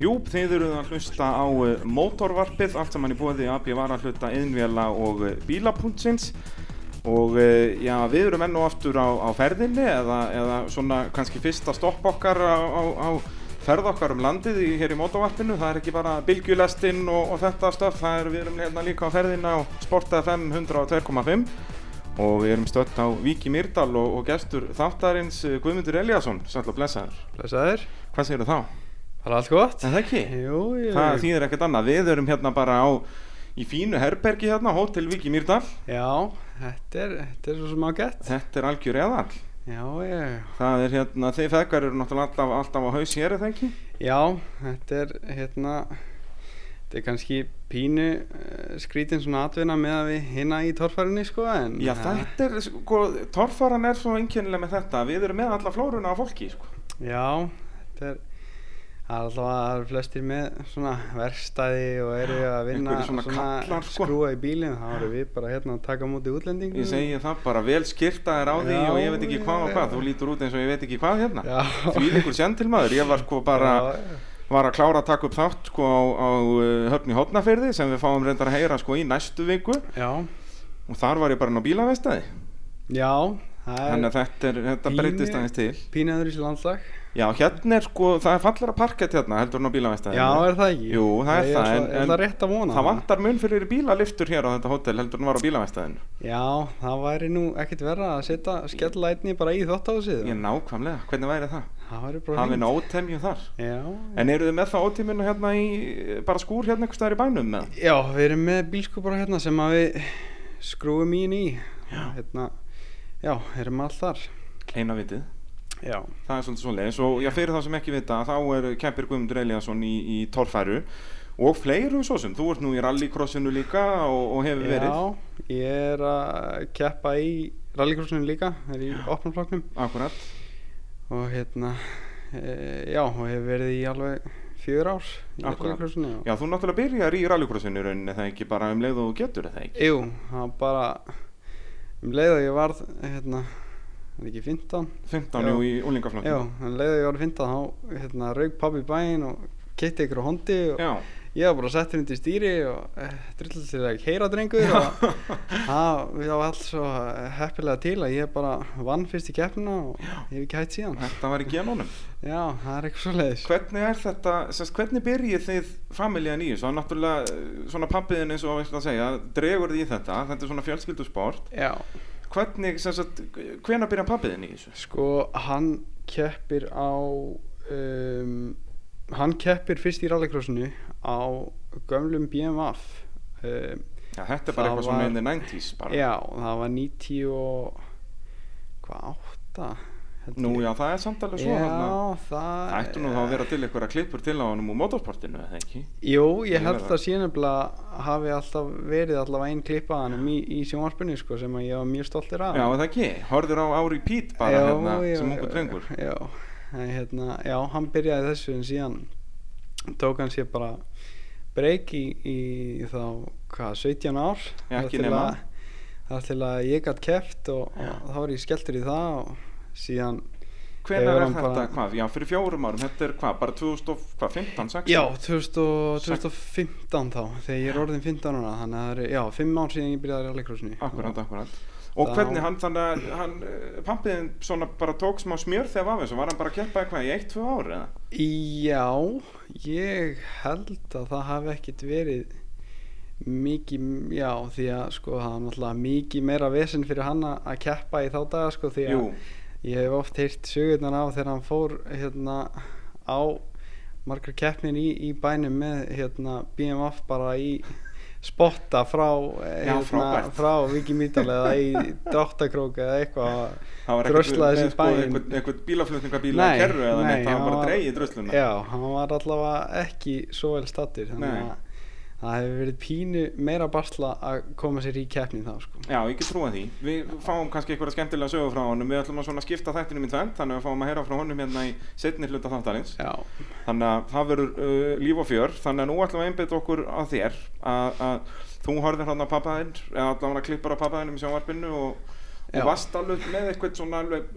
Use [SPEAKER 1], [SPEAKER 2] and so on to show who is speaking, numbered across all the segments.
[SPEAKER 1] Jú, þið eruð að hlusta á eh, mótorvarpið, allt saman í bóði AB var að hluta innvjala og eh, bílapuntsins og eh, já, við erum enn og aftur á, á ferðinni eða, eða svona kannski fyrsta stopp okkar á, á, á ferð okkar um landið í, hér í mótorvarpinu, það er ekki bara bylgjulestinn og, og þetta stöf, það er við erum hérna líka á ferðinna á Sport FM 102.5 og við erum stött á Viki Myrdal og, og gestur þáttarins eh, Guðmundur Eliasson, sætla blessaður,
[SPEAKER 2] Blessaður,
[SPEAKER 1] hvað segir þá?
[SPEAKER 2] bara allt gott
[SPEAKER 1] Er það ekki?
[SPEAKER 2] Jú, jú
[SPEAKER 1] Það þýðir ekkert annað, við erum hérna bara á í fínu herbergi hérna, Hotel Viki Mýrdal
[SPEAKER 2] Já, þetta er, þetta er svo sem ágætt
[SPEAKER 1] Þetta er algjör eðal
[SPEAKER 2] Já, já, já
[SPEAKER 1] Það er hérna, þeir feðgar eru náttúrulega alltaf, alltaf á haus hér, er það ekki?
[SPEAKER 2] Já, þetta er hérna Þetta er kannski pínu uh, skrítin svona atvinna með að við hinna í torfærinni sko en
[SPEAKER 1] Já,
[SPEAKER 2] eh,
[SPEAKER 1] þetta er, sko, torfaran er svo einkennileg með þetta Við erum með alla flóruna á fólki, sko
[SPEAKER 2] Já, þetta er það er alltaf að það eru flestir með svona verkstæði og eru að vinna
[SPEAKER 1] einhverjir svona kallar, sko.
[SPEAKER 2] skrúa í bílinn þá eru við bara hérna að taka á móti útlendingum
[SPEAKER 1] Ég segi það bara, vel skyrta er á því
[SPEAKER 2] Já,
[SPEAKER 1] og ég veit ekki hvað og hvað Þú lítur út eins og ég veit ekki hvað hérna
[SPEAKER 2] Já
[SPEAKER 1] Því líkur sendilmaður, ég var sko bara
[SPEAKER 2] Já, já.
[SPEAKER 1] var að klára að taka upp þátt sko á, á uh, höfni hótnaferði sem við fáum reyndar að heyra sko í næstu viku
[SPEAKER 2] Já,
[SPEAKER 1] og þar var ég bara inn á bílavestæði
[SPEAKER 2] já það er-
[SPEAKER 1] þannig að þetta, er, þetta
[SPEAKER 2] Pínu-
[SPEAKER 1] breytist aðeins til
[SPEAKER 2] Pínaður í sér landslag
[SPEAKER 1] já hérna er sko, það er fallara parkett hérna heldur en á bílavestæði
[SPEAKER 2] Já, er það ekki?
[SPEAKER 1] Jú, það er
[SPEAKER 2] Ég
[SPEAKER 1] það,
[SPEAKER 2] svo-
[SPEAKER 1] en-
[SPEAKER 2] Er
[SPEAKER 1] en-
[SPEAKER 2] það rétt að vona?
[SPEAKER 1] það vantar mun fyrir bílaliftur hér á þetta hótel heldur en var á bílavestæðinu
[SPEAKER 2] Já, það væri nú ekkert verra að setja skellætni bara í þóttáðsið
[SPEAKER 1] ég nákvæmlega, hvernig væri það?
[SPEAKER 2] Það væri bara
[SPEAKER 1] hafið
[SPEAKER 2] fínt.
[SPEAKER 1] ótemju þar
[SPEAKER 2] Já
[SPEAKER 1] en eru þið með það ótemjuna hérna í bara skúr hérna einhvers staðar í bænum með
[SPEAKER 2] Já, við erum með bílskúpar hérna sem að við skrúum í henni í
[SPEAKER 1] Já.
[SPEAKER 2] Hérna, já, erum all þar
[SPEAKER 1] eina vitið
[SPEAKER 2] Já
[SPEAKER 1] Það er svolítið svoleiðis og já, fyrir þá sem ekki vita þá er Kempir Guðmundur Eliasson í, í torfæru og fleiru svo sem, þú ert nú í rallycrossinu líka og, og hefur verið
[SPEAKER 2] Já, ég er að keppa í rallycrossinu líka, er í opnumfloknum
[SPEAKER 1] Akkurat,
[SPEAKER 2] og hérna, e, já, og hefur verið í alveg fjör ár í
[SPEAKER 1] Akkúrat.
[SPEAKER 2] rallycrossinu
[SPEAKER 1] já þú náttúrulega byrjar í rallycrossinu í rauninni það ekki bara um leið og þú getur það ekki
[SPEAKER 2] Jú, það var bara um leið og ég varð hérna, er ekki 15
[SPEAKER 1] 15
[SPEAKER 2] Já.
[SPEAKER 1] jú í
[SPEAKER 2] Já,
[SPEAKER 1] úlingaflokkinu
[SPEAKER 2] um leið og ég varð 15 þá hérna, rauk pabbi í bæinn og keitti ykkur á hondi og
[SPEAKER 1] já,
[SPEAKER 2] ég var bara settur undir stýri og eh, drullið til að keira drengur og það það var allt svo eh, heppilega til að ég bara vann fyrst í keppnina og ég hef ekki hætt síðan
[SPEAKER 1] þetta var í genónum
[SPEAKER 2] Já, það er eitthvað svo leiðis
[SPEAKER 1] Hvernig er þetta, sérst, hvernig byrjið þið familjan í þessu, það er náttúrulega eh, svona pappiðin eins og veist að segja, dregur því þetta, þetta er svona fjölskyldusport
[SPEAKER 2] Já,
[SPEAKER 1] Hvernig, sérst, hvena byrja pappiðin í þessu?
[SPEAKER 2] sko hann keppir á um, hann keppir fyrst í rallycrossinu á gömlum BMF um,
[SPEAKER 1] Já, þetta er bara
[SPEAKER 2] Það
[SPEAKER 1] eitthvað svona
[SPEAKER 2] var-
[SPEAKER 1] in the 90s bara.
[SPEAKER 2] já, það var 90 og hvað, 8 held
[SPEAKER 1] Nú,
[SPEAKER 2] ég.
[SPEAKER 1] já, það er samt alveg svo
[SPEAKER 2] já,
[SPEAKER 1] hérna.
[SPEAKER 2] það
[SPEAKER 1] Það ættu nú þá að vera til einhverja klippur til á honum úr motorsportinu, eða ekki?
[SPEAKER 2] jú,
[SPEAKER 1] Ég
[SPEAKER 2] ég held
[SPEAKER 1] verð að-
[SPEAKER 2] að síðan nefnilega hafi alltaf verið allavega einn klippa hann í, í sjónvarpinu sko, sem að ég var mjög stoltir af
[SPEAKER 1] Já, eða ekki. Horður á ári pít bara
[SPEAKER 2] Já,
[SPEAKER 1] hérna,
[SPEAKER 2] já,
[SPEAKER 1] sem
[SPEAKER 2] já,
[SPEAKER 1] ungu drengur.
[SPEAKER 2] já, en hérna, já, hann byrjaði þessu en síðan tók hann sér bara breyk í, í þá, hvað, 17 ár
[SPEAKER 1] Já,
[SPEAKER 2] Þar
[SPEAKER 1] ekki
[SPEAKER 2] til
[SPEAKER 1] nema.
[SPEAKER 2] að- þar til að ég gætt keft og,
[SPEAKER 1] Já.
[SPEAKER 2] og þá var ég skelltur í það og síðan
[SPEAKER 1] Hvenær
[SPEAKER 2] hefur
[SPEAKER 1] er
[SPEAKER 2] hann
[SPEAKER 1] þetta,
[SPEAKER 2] bara-
[SPEAKER 1] hvað? Já, fyrir fjórum árum, þetta er hvað, bara 2015, 16?
[SPEAKER 2] Já, 2000 2015 þá, þegar ég er orðin 15 ára þannig að það eru, já, 5 ár síðan ég byrjaði í rallycrossinu
[SPEAKER 1] Akkurát, akkurát. Og
[SPEAKER 2] Þá-
[SPEAKER 1] hvernig hann, þannig að hann, eh, pampiðin svona bara tók smá smjör þegar af þessu, var hann bara að keppa eitthvað í eitt, tvö ár eða?
[SPEAKER 2] Já, ég held að það hafi ekkit verið mikið, já, því að sko það var náttúrulega mikið meira vesen fyrir hann að að keppa í þá daga sko því að
[SPEAKER 1] Jú,
[SPEAKER 2] ég hef oft heyrt sögurnar á þegar hann fór hérna á margar keppnir í, í bænum með hérna BMF bara í spotta frá eh,
[SPEAKER 1] Já,
[SPEAKER 2] hérna,
[SPEAKER 1] frábært.
[SPEAKER 2] frá Viki Mítal eða í dráttakrók eða eitthvað
[SPEAKER 1] það var
[SPEAKER 2] Dröslaði
[SPEAKER 1] ekkert
[SPEAKER 2] sig í bæinn.
[SPEAKER 1] eitthvað, eitthvað bílaflutningabíla að kerru eða neitt, það var bara dreigið drösluna.
[SPEAKER 2] Já, hann var allavega ekki svo vel stattur þannig
[SPEAKER 1] Nei.
[SPEAKER 2] að það hefur verið pínu meira barsla að koma sér í keppni þá sko.
[SPEAKER 1] Já, ég get trúið því. Við fáum kannski einhverja skemmtilega sögur frá honum. Við ætlum að svona skipta þættinum í tvend, þannig að við fáum að heyra frá honum hérna í setni hluta þáttarins.
[SPEAKER 2] Já,
[SPEAKER 1] Þannig að það verður uh, líf og fjör. Þannig að nú ætlum við að einbytta okkur að þér. Að, að þú horfðir hérna á pappaðinn, eða allavega klippar á pappaðinnum í sjónvarpinu og,
[SPEAKER 2] Já.
[SPEAKER 1] og varst alveg með eitthvað svona alveg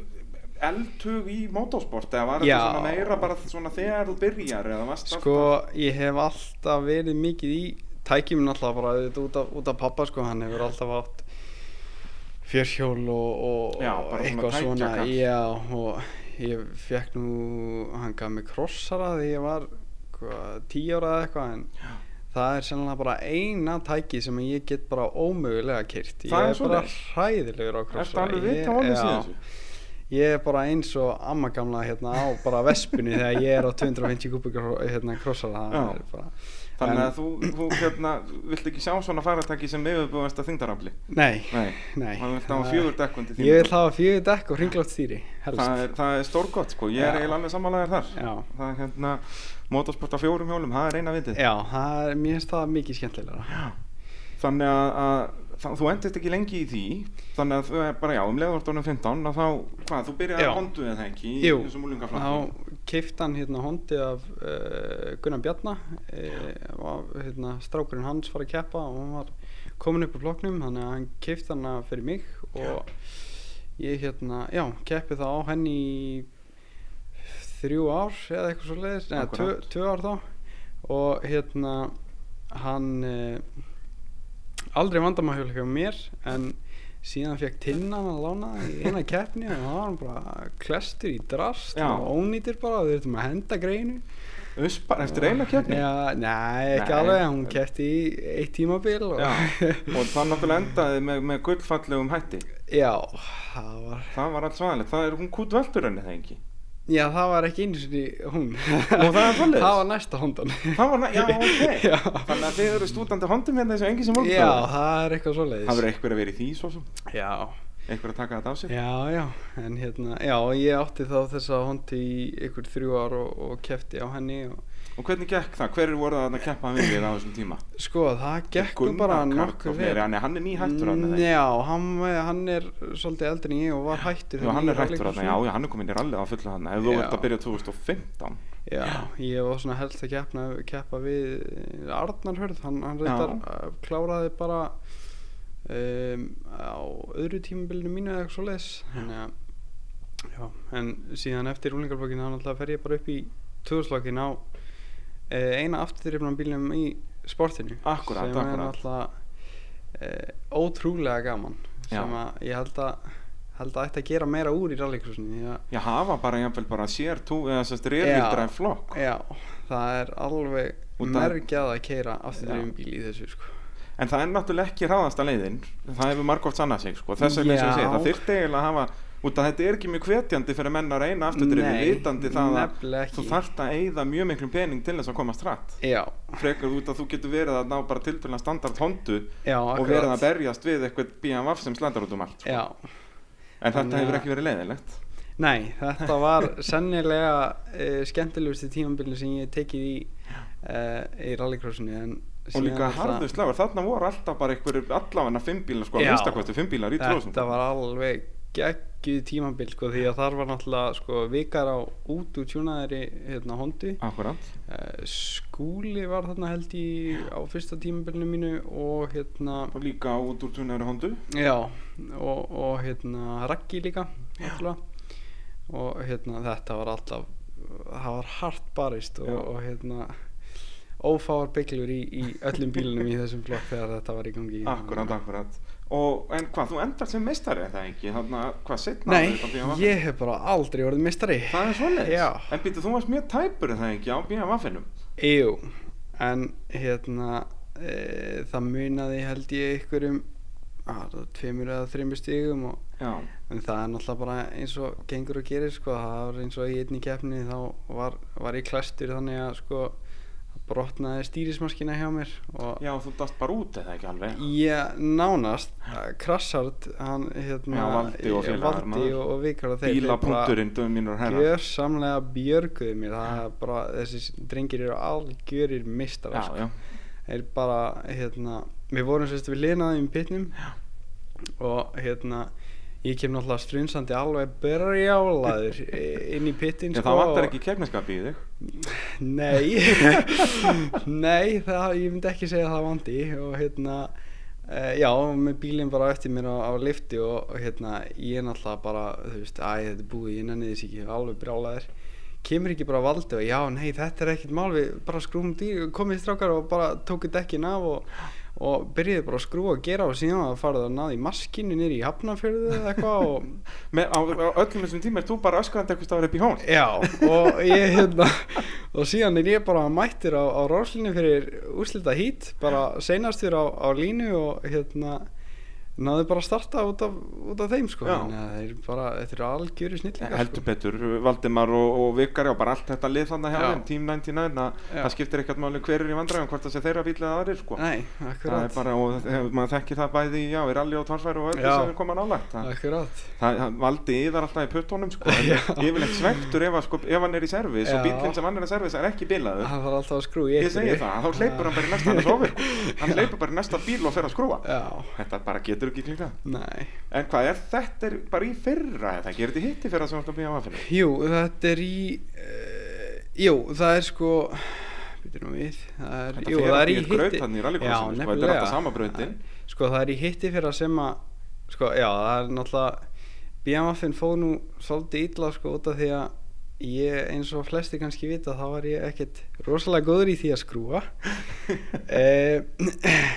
[SPEAKER 1] eldhug í motorsport eða var
[SPEAKER 2] Já.
[SPEAKER 1] þetta svona meira bara svona þegar þú byrjar eða varst
[SPEAKER 2] Sko, ég hef alltaf verið mikið í tækjum náttúrulega bara auðvitað út af, út af pappa sko, hann hefur alltaf átt fjörhjól og, og
[SPEAKER 1] Já,
[SPEAKER 2] og
[SPEAKER 1] bara svona
[SPEAKER 2] eitthvað svona
[SPEAKER 1] tækjakall.
[SPEAKER 2] já, og ég fekk nú hann gaf mig krossara því ég var hvað, tí ára eða eitthvað en
[SPEAKER 1] Já.
[SPEAKER 2] það er sennilega bara eina tæki sem ég get bara ómögulega kyrt ég
[SPEAKER 1] Það er
[SPEAKER 2] er bara
[SPEAKER 1] svoleiðis.
[SPEAKER 2] hræðilegur á
[SPEAKER 1] Ertu
[SPEAKER 2] krossara
[SPEAKER 1] alveg
[SPEAKER 2] Ég-
[SPEAKER 1] vita honum
[SPEAKER 2] já.
[SPEAKER 1] síðan þessu?
[SPEAKER 2] Ég er bara eins og amma gamla hérna á bara vespunni þegar ég er á 250 kubikar hérna krossara það
[SPEAKER 1] Já.
[SPEAKER 2] er bara,
[SPEAKER 1] Þannig
[SPEAKER 2] En-
[SPEAKER 1] að þú, þú hérna, vilt ekki sjá svona faratæki sem yfirbúðast að þyngdarafli?
[SPEAKER 2] Nei,
[SPEAKER 1] Nei,
[SPEAKER 2] nei
[SPEAKER 1] hann vilt hafa fjögur dekkundi
[SPEAKER 2] Ég vil hafa fjögur dekk og hringlátt stýri helst
[SPEAKER 1] Það er, það er stórgott sko, ég er
[SPEAKER 2] Já.
[SPEAKER 1] eiginlega alveg sammálaðar þar
[SPEAKER 2] Já.
[SPEAKER 1] Það er hérna, motorsport á fjórum hjólum, það er eina vitið
[SPEAKER 2] Já, það er, mér finnst það mikið skemmtilega
[SPEAKER 1] Þannig að, að það, þú endist ekki lengi í því Þannig að þú er bara, já, um leiðvartónum 15 að þá, hvað, þú byrjar
[SPEAKER 2] Já.
[SPEAKER 1] að hondu eða ekki í
[SPEAKER 2] Jú,
[SPEAKER 1] þessum
[SPEAKER 2] þá
[SPEAKER 1] úlingaflakki
[SPEAKER 2] keift hann hérna hondi af uh, Gunnar Bjarnar uh, hérna, strákurinn hans var að keppa og hann var komin upp úr flokknum þannig að hann keift hann fyrir mig og ég hérna, já, keppi þá á henni í þrjú ár eða eitthvað svo leiðis, neða tvö,
[SPEAKER 1] Akkúrat.
[SPEAKER 2] tvö ár þá og hérna hann uh, aldrei vandamahjól hjá mér en síðan fekk tinnan að lána í eina keppni og það var hann bara klestur í drast
[SPEAKER 1] Já.
[SPEAKER 2] og ónýtir bara og þurftum að henda greinu
[SPEAKER 1] Uspar, eftir eina keppni
[SPEAKER 2] Já, nei, ekki
[SPEAKER 1] Nei.
[SPEAKER 2] alveg, hún keppti í eitt tímabil og
[SPEAKER 1] Já. Og það náttúrulega endaði með, með gullfallegum hætti
[SPEAKER 2] Já, það var
[SPEAKER 1] Það var alls svaðalegt, það er hún kútveldur henni það ekki
[SPEAKER 2] Já, það var ekki einu sinni hún
[SPEAKER 1] Nú, það er svoleiðis?
[SPEAKER 2] Það var næsta hondan
[SPEAKER 1] Það var, já, ok
[SPEAKER 2] Já.
[SPEAKER 1] Þannig að þið eru stúdandi hondum hérna þessu engi sem voldu
[SPEAKER 2] Já, það er eitthvað svoleiðis
[SPEAKER 1] Það verður einhver að vera í því svo sem
[SPEAKER 2] Já,
[SPEAKER 1] Einhver að taka þetta af sig
[SPEAKER 2] já, já, en hérna, já, ég átti þá þessa hondi í ykkur þrjú ár og, og kefti á henni og
[SPEAKER 1] Og hvernig gekk það? Hver voru það að keppa við þér á þessum tíma?
[SPEAKER 2] sko, það gekk
[SPEAKER 1] um
[SPEAKER 2] nú bara nokkuð
[SPEAKER 1] vel Hann er, hann er nýhættur hann
[SPEAKER 2] Mm,
[SPEAKER 1] eða ekki?
[SPEAKER 2] Já, hann, hann er svolítið eldri en ég og var hættur
[SPEAKER 1] Já,
[SPEAKER 2] þegar
[SPEAKER 1] hann
[SPEAKER 2] ég
[SPEAKER 1] er
[SPEAKER 2] var
[SPEAKER 1] hættur hann, já,
[SPEAKER 2] leikhúsinu.
[SPEAKER 1] já, hann er komin í rallið á fullu hann Ef þú
[SPEAKER 2] Já.
[SPEAKER 1] ert að byrja 2015
[SPEAKER 2] já Ég var svona helst að keppna, keppa við Arnarhörð, hann, hann
[SPEAKER 1] Já.
[SPEAKER 2] reyndar uh, kláraði bara um, á öðru tímabilinu mínu eða eitthvað svo leis þannig að Já, en síðan eftir úlingarflokkinu hann alltaf fer ég bara upp í tvöðslokkinu á e, eina afturrifnan bílum í sportinu
[SPEAKER 1] Akkúrat,
[SPEAKER 2] sem er
[SPEAKER 1] akkúrat.
[SPEAKER 2] alltaf e, ótrúlega gaman
[SPEAKER 1] Já.
[SPEAKER 2] sem að ég held að held að ætti að gera meira úr í rallycrossinu því að-
[SPEAKER 1] Já, hafa bara jafnvel bara sér tú eða sérst reyðvildra en flokk
[SPEAKER 2] Já, það er alveg
[SPEAKER 1] Og það-
[SPEAKER 2] mergjað að keira afturrifnan bíl í þessu sko
[SPEAKER 1] En það er náttúrulega ekki ráðasta leiðin Það hefur margóft sannað sig, sko Þess vegna sem ég
[SPEAKER 2] Já.
[SPEAKER 1] segi, það þyrfti eiginlega að hafa Út að þetta er ekki mjög hvetjandi fyrir menn að reyna afturdrifu
[SPEAKER 2] Nei,
[SPEAKER 1] vitandi það
[SPEAKER 2] nefnilega
[SPEAKER 1] að
[SPEAKER 2] ekki.
[SPEAKER 1] þú þarft að eyða mjög miklum pening til þess að komast rætt
[SPEAKER 2] Já,
[SPEAKER 1] frekar út að þú getur verið að ná bara tilfellna standard hondu
[SPEAKER 2] já,
[SPEAKER 1] og verið að berjast við eitthvað BMW sem slændar út um allt sko.
[SPEAKER 2] Já, Þannig
[SPEAKER 1] en þetta
[SPEAKER 2] að-
[SPEAKER 1] hefur ekki verið leiðilegt
[SPEAKER 2] Nei, þetta var sennilega uh, skemmtilegusti tímabilin sem ég hef tekið í, uh, í rallycrossinu en
[SPEAKER 1] og
[SPEAKER 2] síðan
[SPEAKER 1] líka
[SPEAKER 2] er það-
[SPEAKER 1] harðu slagur, þarna voru alltaf bara einhverjur allavegna fimm bílar sko,
[SPEAKER 2] Já.
[SPEAKER 1] að minnstakosti fimm bílar í tróðsum
[SPEAKER 2] Þetta var alveg geggjuð tímabil sko, því að þar var náttúrulega sko, vikar á út úr tjúnaðari hérna, hondi
[SPEAKER 1] Akkurat,
[SPEAKER 2] uh, skúli var þarna held í á fyrsta tímabilinu mínu og hérna
[SPEAKER 1] og líka út úr tunnari hondu
[SPEAKER 2] Já, og, og hérna Raggi líka náttúrulega. og hérna þetta var alltaf það var hart barist og,
[SPEAKER 1] Já.
[SPEAKER 2] og hérna ófáar bygglur í, í öllum bílunum í þessum flokk þegar þetta var í gangi
[SPEAKER 1] Akkurat, akkurat og, En hvað, þú endar sem meistari er það ekki? Þannig að hvað setna
[SPEAKER 2] Nei, ég hef bara aldrei orðið mistari
[SPEAKER 1] Það er svoleiðis,
[SPEAKER 2] Já.
[SPEAKER 1] en býttu, þú varst mjög tæpur er það ekki á BMW-finnum
[SPEAKER 2] Jú, en hérna e, það munaði held ég ykkurum að, tveimur eða þreimur stigum og
[SPEAKER 1] Já,
[SPEAKER 2] En það er náttúrulega bara eins og gengur og gerir sko, það var eins og í einni keppni þá var, var ég klæstur þannig að sko brotnaði stýrismaskina hjá mér og
[SPEAKER 1] já, þú dast bara út eða ekki alveg
[SPEAKER 2] ég nánast eh, Krasshard, hann hérna
[SPEAKER 1] Já, Valdi og félagar,
[SPEAKER 2] Valdi
[SPEAKER 1] maður.
[SPEAKER 2] og, og Vikar og þeir þeir bara
[SPEAKER 1] Bílapunkturinn, hérna. döðum mínur herra
[SPEAKER 2] gjörsamlega björguðu mér það er bara, þessi drengir eru algjörir sko. mistar
[SPEAKER 1] Já, já,
[SPEAKER 2] er bara hérna, við vorum sérst við linaðum í pitnum og hérna ég kem náttúrulega strunsandi alveg berjálaður i- inn í pittin
[SPEAKER 1] Já,
[SPEAKER 2] sko,
[SPEAKER 1] það vantar
[SPEAKER 2] og-
[SPEAKER 1] ekki kefniskap í þig
[SPEAKER 2] nei nei, það, ég myndi ekki segja að það vandi og hérna Uh, já, með bílinn bara eftir mér á, á lifti og, og hérna, ég er náttúrulega bara, þú veist, æ, þetta er búið, ég nenni þess ekki, alveg brjálæðir. Kemur ekki bara valdi og já, nei, þetta er ekkert mál, við bara skrúum dýr, komið strákar og bara tóku dekkin af og, og byrjuði bara að skrúa og gera og síðan var það farið að náði maskinu nýri í hafnafjörðu eða eitthvað og
[SPEAKER 1] Með, á, á öllum þessum tíma er þú bara öskrandi eitthvað staðar upp í hón
[SPEAKER 2] Já, og ég hérna og síðan er ég bara mættir á, á ráslinu fyrir úrslita hít bara seinastur á, á línu og hérna náðu bara að starta út af, út af þeim sko
[SPEAKER 1] Já.
[SPEAKER 2] þannig að þeir eru bara, þetta eru algjöru snillingar sko.
[SPEAKER 1] heldur betur, Valdimar og, og Vikari og bara allt þetta lið þannig hjá
[SPEAKER 2] Já.
[SPEAKER 1] þeim, Team 99 að
[SPEAKER 2] Já.
[SPEAKER 1] það skiptir ekkert máli hver er í vandræðum hvort það sé þeirra bíl eða aðrir
[SPEAKER 2] sko
[SPEAKER 1] sko.
[SPEAKER 2] Nei,
[SPEAKER 1] það er
[SPEAKER 2] akkurat,
[SPEAKER 1] bara, og eh, maður þekki það bæði já, við rally og tvarsfæri og öllu
[SPEAKER 2] Já.
[SPEAKER 1] sem við koma nálægt það,
[SPEAKER 2] akkurat
[SPEAKER 1] það, það valdi yðar alltaf í puttónum sko,
[SPEAKER 2] Já.
[SPEAKER 1] en yfirleitt svektur ef, að, sko, ef hann er í servis
[SPEAKER 2] Já.
[SPEAKER 1] og bílinn sem hann er í servis er ekki bílaður
[SPEAKER 2] Það var alltaf að skrú í
[SPEAKER 1] ég segi
[SPEAKER 2] einhverju.
[SPEAKER 1] það, þá hleypur hann bara í næsta hann er sofir, sko. hann hleypur bara í næsta bíl og fer að skrúa
[SPEAKER 2] Já,
[SPEAKER 1] þetta bara getur ekki klinga
[SPEAKER 2] nei
[SPEAKER 1] en hvað er þetta er bara í fyrra það gerir þetta í hitti fyrra sem hann býja á aðferðinu
[SPEAKER 2] Jú, þetta er í uh, Jú, það er sko Býtur nú við Það er,
[SPEAKER 1] Þetta
[SPEAKER 2] jú,
[SPEAKER 1] fer
[SPEAKER 2] það
[SPEAKER 1] allt
[SPEAKER 2] er
[SPEAKER 1] í
[SPEAKER 2] í
[SPEAKER 1] eitt
[SPEAKER 2] hitti
[SPEAKER 1] graut þarna í rallycrossinu,
[SPEAKER 2] Já,
[SPEAKER 1] sko, þetta er
[SPEAKER 2] nefnilega.
[SPEAKER 1] alltaf sama brautin.
[SPEAKER 2] Sko, það er í hitti fyrir að sem að Sko, já, það er náttúrulega BMF-in fóð nú svolítið illa sko út af því að ég eins og flesti kannski vita þá var ég ekkert rosalega góður í því að skrúa Eh, uh,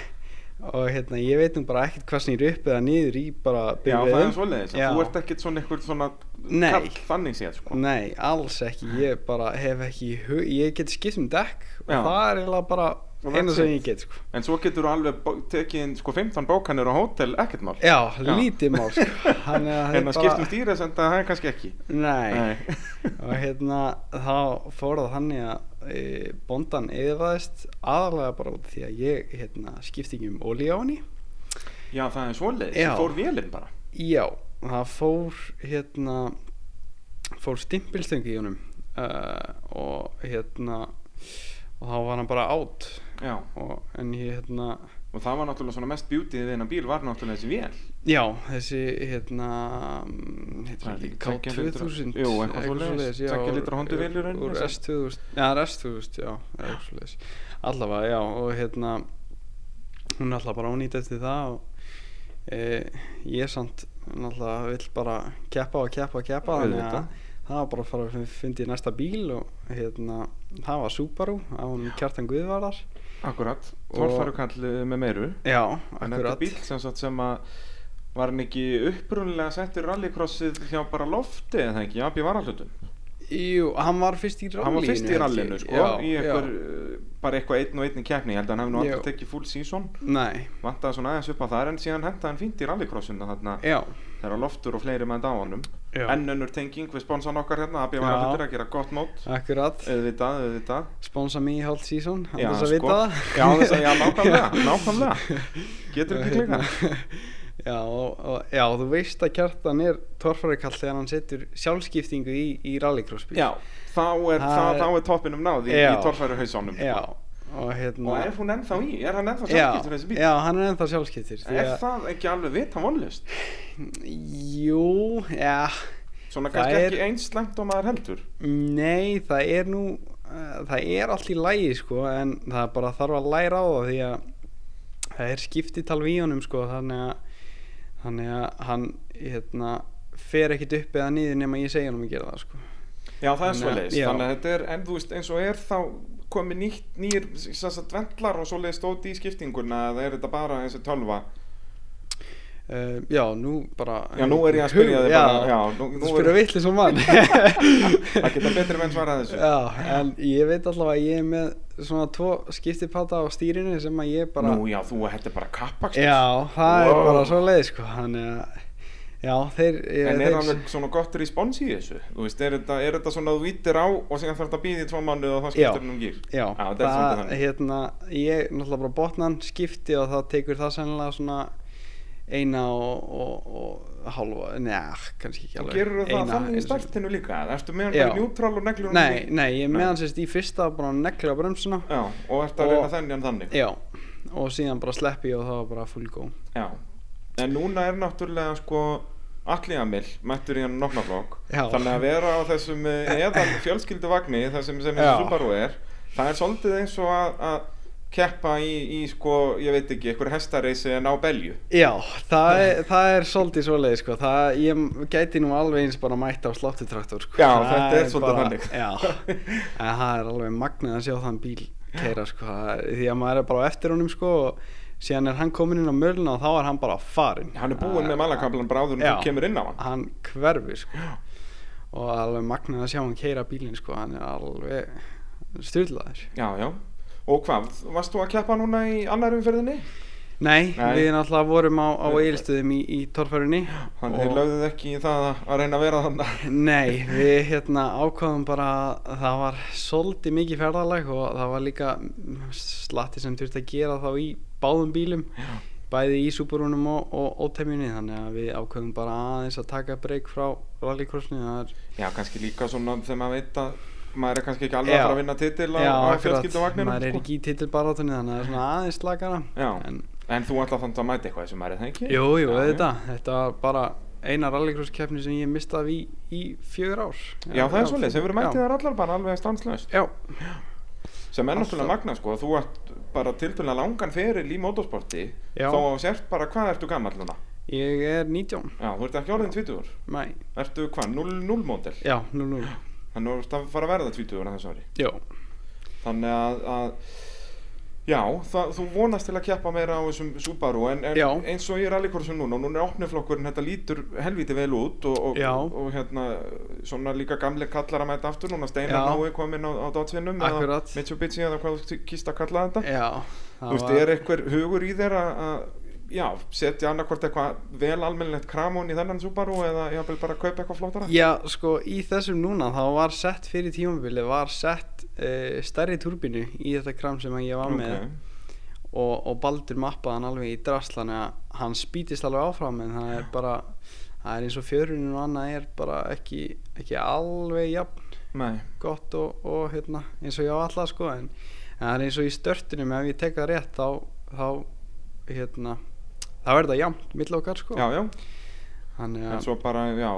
[SPEAKER 2] og hérna ég veit nú bara ekkert hvað snýr upp eða niður í bara
[SPEAKER 1] Já, það er
[SPEAKER 2] bifreiðum.
[SPEAKER 1] svoleiðis,
[SPEAKER 2] Já.
[SPEAKER 1] að þú ert ekkert svona eitthvað svona
[SPEAKER 2] Nei.
[SPEAKER 1] kall þannig séð sko.
[SPEAKER 2] Nei, alls ekki, ég bara hef ekki í hug, ég get skipt um dekk og
[SPEAKER 1] Já.
[SPEAKER 2] það er eiginlega bara
[SPEAKER 1] Og
[SPEAKER 2] eina
[SPEAKER 1] that's
[SPEAKER 2] sem
[SPEAKER 1] it.
[SPEAKER 2] ég get sko.
[SPEAKER 1] En svo getur þú alveg bó- tekið inn, sko 15 bókanir á hótel, ekkert mál
[SPEAKER 2] Já, Eh, lítið mál sko. Þannig að það er
[SPEAKER 1] En að
[SPEAKER 2] bara-
[SPEAKER 1] Hérna skiptum dýra sem það er kannski ekki
[SPEAKER 2] Nei,
[SPEAKER 1] Nei.
[SPEAKER 2] og hérna þá fór það þannig að e, bondan yfirvæðist aðalega bara út af því að ég hérna, skipti ekki um olí á henni
[SPEAKER 1] Já, það er svoleiðis,
[SPEAKER 2] Já.
[SPEAKER 1] það fór vélinn bara
[SPEAKER 2] Já, það fór hérna fór stimpilstöngi í honum uh, og hérna og þá var hann bara átt
[SPEAKER 1] Já,
[SPEAKER 2] og, en ég hérna
[SPEAKER 1] og það var náttúrulega svona mest beauty við þennan bíl var náttúrulega þessi vél
[SPEAKER 2] Já, þessi hérna mm, heitir
[SPEAKER 1] Það er
[SPEAKER 2] ekki
[SPEAKER 1] líka tveggja litra-
[SPEAKER 2] K2000
[SPEAKER 1] Jú, eitthvað svoleiðis,
[SPEAKER 2] já,
[SPEAKER 1] tveggja
[SPEAKER 2] úr-
[SPEAKER 1] litra Honda-vél í rauninni,
[SPEAKER 2] Úr
[SPEAKER 1] sem-
[SPEAKER 2] S2000, já, það er S2000, já, eða eitthvað svoleiðis Allavega, já, og hérna hún er alltaf bara ónýtt eftir það og e, ég samt náttúrulega vill bara keppa og keppa og keppa þannig
[SPEAKER 1] Auðvitað.
[SPEAKER 2] að það var bara að fara að fyndi í næsta bíl og hérna, það var Subaru af hún Kjartan Guðvarðar
[SPEAKER 1] Akkurat,
[SPEAKER 2] Og-
[SPEAKER 1] tólfarukall eh, með meiru
[SPEAKER 2] Já,
[SPEAKER 1] En þetta er
[SPEAKER 2] akkurat
[SPEAKER 1] bíl sem, sagt sem að var hann ekki upprunlega settur rallycrossið hjá bara lofti eða ekki, já, býð var
[SPEAKER 2] Jú, hann var fyrst í rallinu
[SPEAKER 1] hann var fyrst í
[SPEAKER 2] held ég.
[SPEAKER 1] rallinu sko,
[SPEAKER 2] Já,
[SPEAKER 1] í einhver,
[SPEAKER 2] já.
[SPEAKER 1] uh, bara eitthvað einn og einn í keppni ég held að hann hefði nú
[SPEAKER 2] Já.
[SPEAKER 1] alltaf tekið full season
[SPEAKER 2] Nei,
[SPEAKER 1] vantaði svona aðeins upp á það en síðan hentaði hann fínt í rallycrossinu þarna
[SPEAKER 2] já,
[SPEAKER 1] þegar loftur og fleiri menn á honum
[SPEAKER 2] Já.
[SPEAKER 1] enn önnur tenging við sponsan okkar hérna AB
[SPEAKER 2] Já.
[SPEAKER 1] var að að gera gott mót
[SPEAKER 2] akkurat
[SPEAKER 1] auðvitað, auðvitað
[SPEAKER 2] Sponsa mig í hálf season, hann
[SPEAKER 1] Já,
[SPEAKER 2] þess að
[SPEAKER 1] sko.
[SPEAKER 2] vita það
[SPEAKER 1] Já, án þess að- já, nákvæmlega, nákvæmlega. Getur ekki
[SPEAKER 2] Og hérna,
[SPEAKER 1] klikkað.
[SPEAKER 2] Já, og, og, já, þú veist að kjartan er torfarikall þegar hann setur sjálfskiptingu í, í rallycrossbíl
[SPEAKER 1] já, þá er,
[SPEAKER 2] Það
[SPEAKER 1] það,
[SPEAKER 2] er-
[SPEAKER 1] þá er toppinum náð í,
[SPEAKER 2] Já.
[SPEAKER 1] í torfæru hausónum
[SPEAKER 2] Já, og hérna
[SPEAKER 1] og er hún ennþá í, er hann ennþá
[SPEAKER 2] já,
[SPEAKER 1] sjálfskiptur þessi bíl
[SPEAKER 2] já, hann er ennþá sjálfskiptir því
[SPEAKER 1] er
[SPEAKER 2] að-
[SPEAKER 1] það ekki alveg vita vonlust
[SPEAKER 2] Jú, já,
[SPEAKER 1] svona
[SPEAKER 2] Það
[SPEAKER 1] kannski
[SPEAKER 2] er-
[SPEAKER 1] ekki eins langt og maður heldur
[SPEAKER 2] nei, það er nú uh, það er allt í lægi sko en það er bara þarf að læra á það því að það er skiptital við honum sko þannig að, þannig að hann hérna, fer ekkit upp eða niður nema ég segja honum að gera það sko
[SPEAKER 1] Já, það er
[SPEAKER 2] Þannig
[SPEAKER 1] svo
[SPEAKER 2] að-
[SPEAKER 1] leiðis,
[SPEAKER 2] já.
[SPEAKER 1] þannig að þetta er, en þú veist, eins og er þá komið nýtt, nýjir, þess að dvendlar og svo leiðist óti í skiptinguna eða er þetta bara þessi tölva?
[SPEAKER 2] Uh, já, nú bara
[SPEAKER 1] Já, nú er ég að spyrja þig
[SPEAKER 2] já,
[SPEAKER 1] bara, já, nú- nú
[SPEAKER 2] Þú
[SPEAKER 1] er-
[SPEAKER 2] spyrja vitli sem mann
[SPEAKER 1] Það geta betri menn svarað þessu.
[SPEAKER 2] Já, en ég veit allavega að ég er með svona tvo skiptipata á stýrinu sem að ég bara
[SPEAKER 1] Nú, já, þú, þetta er bara kappakstur.
[SPEAKER 2] Já, það
[SPEAKER 1] Wow.
[SPEAKER 2] er bara svo leið sko Þannig að Já, þeir eh,
[SPEAKER 1] En er
[SPEAKER 2] þeir,
[SPEAKER 1] alveg svona gott respons í þessu? Þú veist, er þetta, er þetta svona að þú vítir á og síðan þarf þetta að býða í tvo mánuð og þá
[SPEAKER 2] Já.
[SPEAKER 1] skiptir hann um gýr?
[SPEAKER 2] Já,
[SPEAKER 1] þetta er
[SPEAKER 2] það,
[SPEAKER 1] svolítið þannig.
[SPEAKER 2] hérna Ég náttúrulega bara botnan skipti og það tekur það sennilega svona eina og, og, og hálfa, neða, kannski ekki
[SPEAKER 1] Og
[SPEAKER 2] alveg
[SPEAKER 1] gerur það
[SPEAKER 2] Eina-
[SPEAKER 1] þannig í
[SPEAKER 2] einu sinni.
[SPEAKER 1] startinu líka? eða Ertu með hann
[SPEAKER 2] Já.
[SPEAKER 1] bara njútrál og neglur hann
[SPEAKER 2] Nei, nei, ég er
[SPEAKER 1] Nei.
[SPEAKER 2] meðan sérst í fyrsta bara að negla á bremsuna
[SPEAKER 1] Já, og ertu að
[SPEAKER 2] Og-
[SPEAKER 1] reyna þenni hann þannig?
[SPEAKER 2] Já, og síðan bara sleppi ég og það var bara full go
[SPEAKER 1] Já, en núna er náttúrulega sko allir Amil mættur í hann noknaflokk
[SPEAKER 2] Já.
[SPEAKER 1] þannig að vera á þessum eðan fjölskylduvagni þessum sem þessi
[SPEAKER 2] Já.
[SPEAKER 1] Subaru er það er svolítið eins og að, að keppa í, í sko, ég veit ekki, einhver hestareysi en á belju
[SPEAKER 2] Já, það er, það er svolítið svoleið sko. það, ég gæti nú alveg eins bara mætt á sláttutraktor sko.
[SPEAKER 1] Já,
[SPEAKER 2] Það
[SPEAKER 1] þetta er svolítið þannig.
[SPEAKER 2] Já, en það er alveg magnað að sjá þann bíl keira sko. Það er- því að maður er bara á eftir honum sko, og síðan er hann komin inn á möluna og þá er hann bara farin
[SPEAKER 1] Hann er búinn með malakablan bráður
[SPEAKER 2] Já.
[SPEAKER 1] og kemur inn á hann
[SPEAKER 2] hann hverfur sko. og alveg magnað að sjá hann keira bílinn sko. hann er alveg styrlaður
[SPEAKER 1] Já, já Og hvað, varst þú að keppa núna í annar umferðinni?
[SPEAKER 2] Nei,
[SPEAKER 1] Nei.
[SPEAKER 2] við náttúrulega vorum á, á eilstöðum í, í torfærunni
[SPEAKER 1] Þannig þeir lögðuð ekki í það að- að reyna að vera þannig
[SPEAKER 2] Nei, við hérna ákvaðum bara að það var svolítið mikið ferðalag og það var líka mm, slatti sem þurfti að gera þá í báðum bílum bæði í Subarunum og, og ótemjunni þannig að við ákvaðum bara aðeins að taka breyk frá rallycrossinu það er,
[SPEAKER 1] Já, kannski líka svona þegar maður veit að maður er kannski ekki alveg
[SPEAKER 2] Já.
[SPEAKER 1] að fara að vinna titil á,
[SPEAKER 2] Já,
[SPEAKER 1] sko. á
[SPEAKER 2] akkurat,
[SPEAKER 1] fjölskylduvagninum
[SPEAKER 2] maður er ekki í titilbarátunni þannig að það er svona aðeins slakara
[SPEAKER 1] Já.
[SPEAKER 2] en,
[SPEAKER 1] En þú ætla þannig að mæta eitthvað þessum maður er það ekki?
[SPEAKER 2] Jú, jú,
[SPEAKER 1] Já,
[SPEAKER 2] þetta, þetta var bara eina rallycross keppni sem ég mistaði í, í fjögur ár
[SPEAKER 1] Já, það er svolítið, þeir verður mætið
[SPEAKER 2] Já.
[SPEAKER 1] þar allar bara alveg stanslaust
[SPEAKER 2] Já,
[SPEAKER 1] sem er náttúrulega
[SPEAKER 2] Alltaf.
[SPEAKER 1] magna sko, að þú ert bara tiltölulega langan feril í motorsporti
[SPEAKER 2] Já.
[SPEAKER 1] þó að sért bara hvað ertu gammal núna
[SPEAKER 2] ég er 19
[SPEAKER 1] Já, þú ert ekki orðin 20
[SPEAKER 2] Mæ,
[SPEAKER 1] Ertu hvað, 0-0 módel
[SPEAKER 2] já, 0-0
[SPEAKER 1] Þannig að þú ert að fara að verða 20 á þessu ári
[SPEAKER 2] Já,
[SPEAKER 1] Þannig að, að Já, það, þú vonast til að keppa meira á þessum Subaru en, en
[SPEAKER 2] Já.
[SPEAKER 1] eins og ég er allikorsin núna og núna er opniflokkurinn, þetta lítur helviti vel út og, og,
[SPEAKER 2] Já.
[SPEAKER 1] og, hérna svona líka gamle kallar að mæta aftur núna
[SPEAKER 2] Já.
[SPEAKER 1] Steinar Nói kominn á, á dotsvinnum eða
[SPEAKER 2] Akkurat.
[SPEAKER 1] Mitsubishi eða hvað þú kýst að kalla þetta
[SPEAKER 2] já það
[SPEAKER 1] Þú veist,
[SPEAKER 2] var-
[SPEAKER 1] er einhver hugur í þér að að- já, setja annarkvort eitthvað vel almennilegt kramón í þennan Subaru eða jáfnvel bara kaupa eitthvað flótara
[SPEAKER 2] Já, sko, í þessum núna þá var sett fyrir tímabilið var sett uh, stærri turbinu í þetta kram sem ég var með og, og Baldur mappaði hann alveg í drasl þannig að hann spýtist alveg áfram en það er bara, það er eins og fjörunum og annað er bara ekki, ekki alveg jafn
[SPEAKER 1] Nei,
[SPEAKER 2] gott og, og hérna, eins og ég á alla sko en, en það er eins og í störtunum ef ég tek það rétt þá, þá hérna, þá er það jafn mill okkar sko
[SPEAKER 1] já, já,
[SPEAKER 2] Þannig
[SPEAKER 1] en
[SPEAKER 2] að,
[SPEAKER 1] svo bara, já,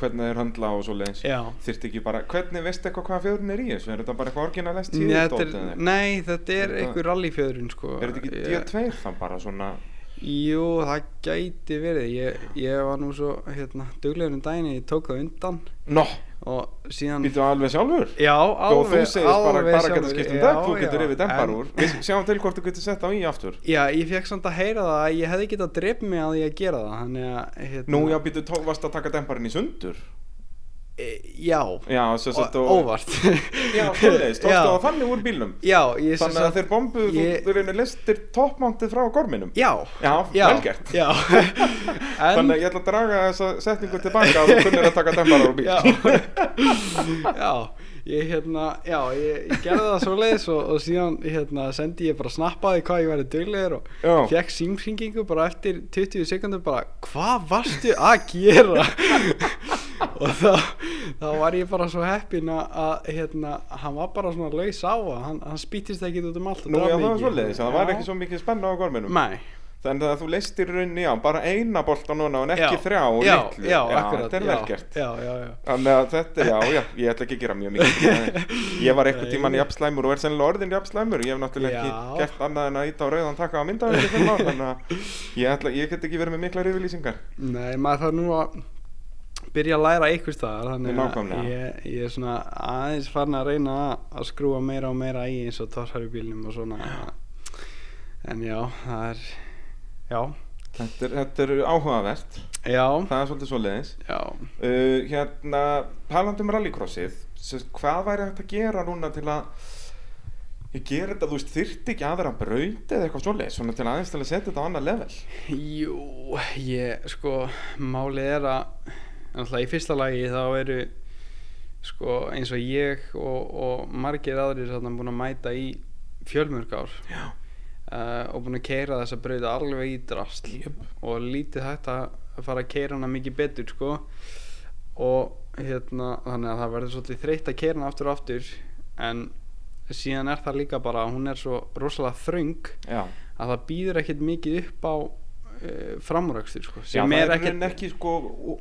[SPEAKER 1] hvernig þeir höndla og svo leiðis
[SPEAKER 2] já
[SPEAKER 1] Þyrfti ekki bara, hvernig veist eitthvað hvað fjörun er í þessu? Er þetta bara eitthvað orginalest
[SPEAKER 2] Nei, þetta er,
[SPEAKER 1] tíðdótið?
[SPEAKER 2] nei, þetta er
[SPEAKER 1] Þetta-
[SPEAKER 2] einhver rallyfjöðurinn sko.
[SPEAKER 1] Er þetta ekki
[SPEAKER 2] Ég-
[SPEAKER 1] D2 þann bara svona?
[SPEAKER 2] Jú, það gæti verið ég, ég var nú svo hérna, duglegur um daginn ég tók það undan
[SPEAKER 1] Nó,
[SPEAKER 2] og síðan
[SPEAKER 1] býttu alveg sjálfur?
[SPEAKER 2] Já, alveg
[SPEAKER 1] og þú segist bara,
[SPEAKER 2] alveg
[SPEAKER 1] bara
[SPEAKER 2] sjálfur,
[SPEAKER 1] getur skipt um
[SPEAKER 2] já,
[SPEAKER 1] dekk, þú getur
[SPEAKER 2] já,
[SPEAKER 1] yfir dempar
[SPEAKER 2] en-
[SPEAKER 1] úr Við sjáum til hvort þú getur sett á í aftur
[SPEAKER 2] Já, ég fekk samt að heyra það að ég hefði getað dreip mig að ég að gera það Þannig að hérna,
[SPEAKER 1] Nú, já, býttu, tó- varst að taka demparinn í sundur?
[SPEAKER 2] e- Já,
[SPEAKER 1] Já, sem sagt
[SPEAKER 2] og,
[SPEAKER 1] og-
[SPEAKER 2] óvart
[SPEAKER 1] Já, svoleiðis, tókstu
[SPEAKER 2] Já.
[SPEAKER 1] það þannig úr bílnum
[SPEAKER 2] Já, ég sem
[SPEAKER 1] Þannig að
[SPEAKER 2] sagt-
[SPEAKER 1] þeir bombuðu,
[SPEAKER 2] ég-
[SPEAKER 1] þú reynir listir toppmántið frá gorminum
[SPEAKER 2] Já,
[SPEAKER 1] Já, vel gert.
[SPEAKER 2] já.
[SPEAKER 1] Þannig að ég ætla að draga þessa setningu tilbaka að þú kunnir að taka dempar úr bíl
[SPEAKER 2] já, já, ég hérna já, ég, ég gerði það svo leiðis og, og síðan hérna sendi ég bara snappaði hvað ég væri duglegur og
[SPEAKER 1] Já.
[SPEAKER 2] fekk símringingu bara eftir 20 sekundum bara hvað varstu að gera og þá, þá var ég bara svo heppin að- að hérna, hann var bara svona laus á að hann, hann spýttist ekki út um allt og
[SPEAKER 1] Nú,
[SPEAKER 2] drap
[SPEAKER 1] já,
[SPEAKER 2] mig
[SPEAKER 1] það var
[SPEAKER 2] ekki.
[SPEAKER 1] svoleiðis, það var
[SPEAKER 2] Já.
[SPEAKER 1] ekki svo mikið spenna á gorminum
[SPEAKER 2] Nei,
[SPEAKER 1] Þannig að þú leistir rauninni á bara eina bolta núna en ekki
[SPEAKER 2] já,
[SPEAKER 1] þrjá og
[SPEAKER 2] já,
[SPEAKER 1] litlu
[SPEAKER 2] já, akkurat,
[SPEAKER 1] þetta er
[SPEAKER 2] já,
[SPEAKER 1] vel gert
[SPEAKER 2] já, já, já.
[SPEAKER 1] Þannig að þetta, já, já, ég ætla ekki að gera mjög mikið Ég var einhvern
[SPEAKER 2] Nei.
[SPEAKER 1] tíman jafnslæmur og er sennilega orðin jafnslæmur Ég hef náttúrulega
[SPEAKER 2] Já.
[SPEAKER 1] ekki gert annað en að íta á rauðan taka á myndaðum Þannig að ég, ætla, ég get ekki verið með mikla yfirlýsingar
[SPEAKER 2] Nei, maður þarf nú að byrja að læra einhvers staðar þannig
[SPEAKER 1] Nákvæmlega.
[SPEAKER 2] að ég, ég er svona aðeins farin að reyna að- að skrúa meira og meira í eins og torfarubílnum og svona en já, það er já,
[SPEAKER 1] Þetta er, þetta er áhugavert,
[SPEAKER 2] já,
[SPEAKER 1] það er svolítið svoleiðis
[SPEAKER 2] já
[SPEAKER 1] uh, Hérna, talandi um rallycrossið sem sagt, Hvað væri hægt að gera núna til að Ég ger þetta, þú veist, þyrfti ekki aðra braut eða eitthvað svoleiðis Svona til aðeins til að setja þetta á annað level
[SPEAKER 2] Jú, ég, sko málið er að alltaf í fyrsta lagi þá eru sko eins og ég og, og margir aðrir þarna búin að mæta í fjölmörg ár
[SPEAKER 1] Já.
[SPEAKER 2] uh, og búin að keira þessa brauta alveg í drasl
[SPEAKER 1] Jöp.
[SPEAKER 2] og lítið hægt að fara að keira hana mikið betur sko og hérna þannig að það verður svolítið þreytt að keira hana aftur og aftur en síðan er það líka bara að hún er svo rosalega þröng
[SPEAKER 1] Já,
[SPEAKER 2] að það býður ekkert mikið upp á uh, framúrakstur sko,
[SPEAKER 1] Já,
[SPEAKER 2] sem
[SPEAKER 1] það
[SPEAKER 2] er
[SPEAKER 1] er
[SPEAKER 2] ekkert
[SPEAKER 1] ekkert ekki sko,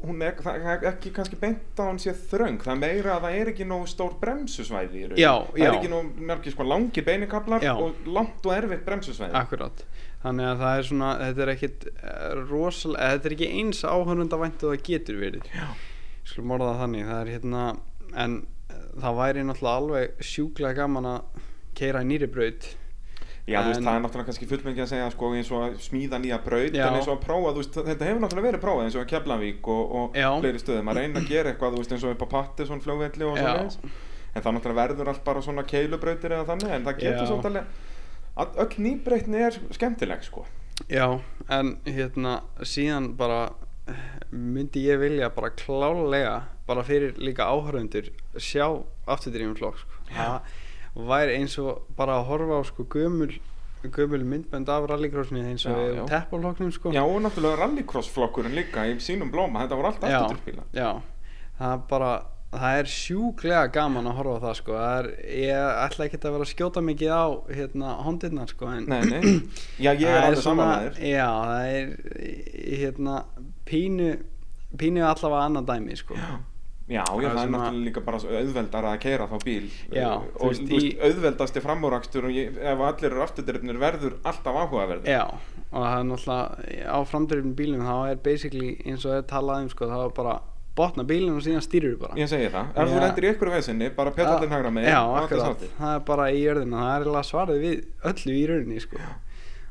[SPEAKER 1] hún er, það er ekki kannski beint að hann sé þröng, það er meira að það er ekki nóg stór bremsusvæði í raun.
[SPEAKER 2] Já,
[SPEAKER 1] það
[SPEAKER 2] já.
[SPEAKER 1] er ekki nóg mörgir sko langi beinikablar
[SPEAKER 2] Já.
[SPEAKER 1] og langt og erfitt bremsusvæði
[SPEAKER 2] Akkurát, þannig að það er svona þetta er ekkit eh, rosalega eða þetta er ekki eins áhörundavænt og það getur verið
[SPEAKER 1] Já.
[SPEAKER 2] skulum orða það þannig það er hérna, en eh, það væri náttúrulega alveg sjúklega gaman að keira í nýri braut
[SPEAKER 1] Já, þú veist,
[SPEAKER 2] En-
[SPEAKER 1] það er náttúrulega kannski fullmengi að segja sko, eins og að smíða nýja braut
[SPEAKER 2] Já.
[SPEAKER 1] en eins og að prófa, þú veist, þetta hefur náttúrulega verið prófað eins og að Keflavík og, og
[SPEAKER 2] Já.
[SPEAKER 1] fleiri stöðum að reyna að gera eitthvað, þú veist, eins og upp á patti svona flugvelli og
[SPEAKER 2] Já.
[SPEAKER 1] svona en það náttúrulega verður allt bara svona keilubrautir eða þannig, en það
[SPEAKER 2] Já.
[SPEAKER 1] getur svolítið alveg all- öll nýbreytni er skemmtileg sko.
[SPEAKER 2] Já, en hérna síðan bara eh, myndi ég vilja bara klálega bara fyrir líka áhörundur sjá afturdrýmum flokk sko.
[SPEAKER 1] Já.
[SPEAKER 2] það væri eins og bara að horfa á sko gömul gömul myndbönd af rallycrossinu eins og
[SPEAKER 1] Já,
[SPEAKER 2] við
[SPEAKER 1] já.
[SPEAKER 2] teppaflokknum sko
[SPEAKER 1] Já, og náttúrulega rallycross flokkurinn líka í sínum blóma, þetta voru allt
[SPEAKER 2] Já,
[SPEAKER 1] afturturbíla
[SPEAKER 2] já. það er bara það er sjúklega gaman að horfa á það sko það er, ég ætla ekki að vera að skjóta mikið á hérna hóndirnar sko en
[SPEAKER 1] Nei, nei, já ég
[SPEAKER 2] það
[SPEAKER 1] er alveg saman með þér
[SPEAKER 2] já, það er í- hérna pínu pínu allavega annað dæmi sko já,
[SPEAKER 1] Já, já, það
[SPEAKER 2] Það er
[SPEAKER 1] er
[SPEAKER 2] svona-
[SPEAKER 1] náttúrulega líka bara svo auðveldara að keira þá bíl
[SPEAKER 2] Já,
[SPEAKER 1] Uh,
[SPEAKER 2] þú
[SPEAKER 1] og
[SPEAKER 2] veist,
[SPEAKER 1] þú veist,
[SPEAKER 2] í-
[SPEAKER 1] auðveldasti framúrakstur og ég, ef allir eru afturdirfnir verður alltaf áhugaverður
[SPEAKER 2] og það er náttúrulega á framdrifnum bílum þá er basically eins og það er talað um sko þá er bara botna bílinn og síðan stýrir bara
[SPEAKER 1] Ég segi það, ef
[SPEAKER 2] Já.
[SPEAKER 1] þú lendir í ykkur vesinni, bara pedalinn hagra með
[SPEAKER 2] já, akkurat, það er bara í jörðina það er eiginlega svarið við öllu í rauninni sko.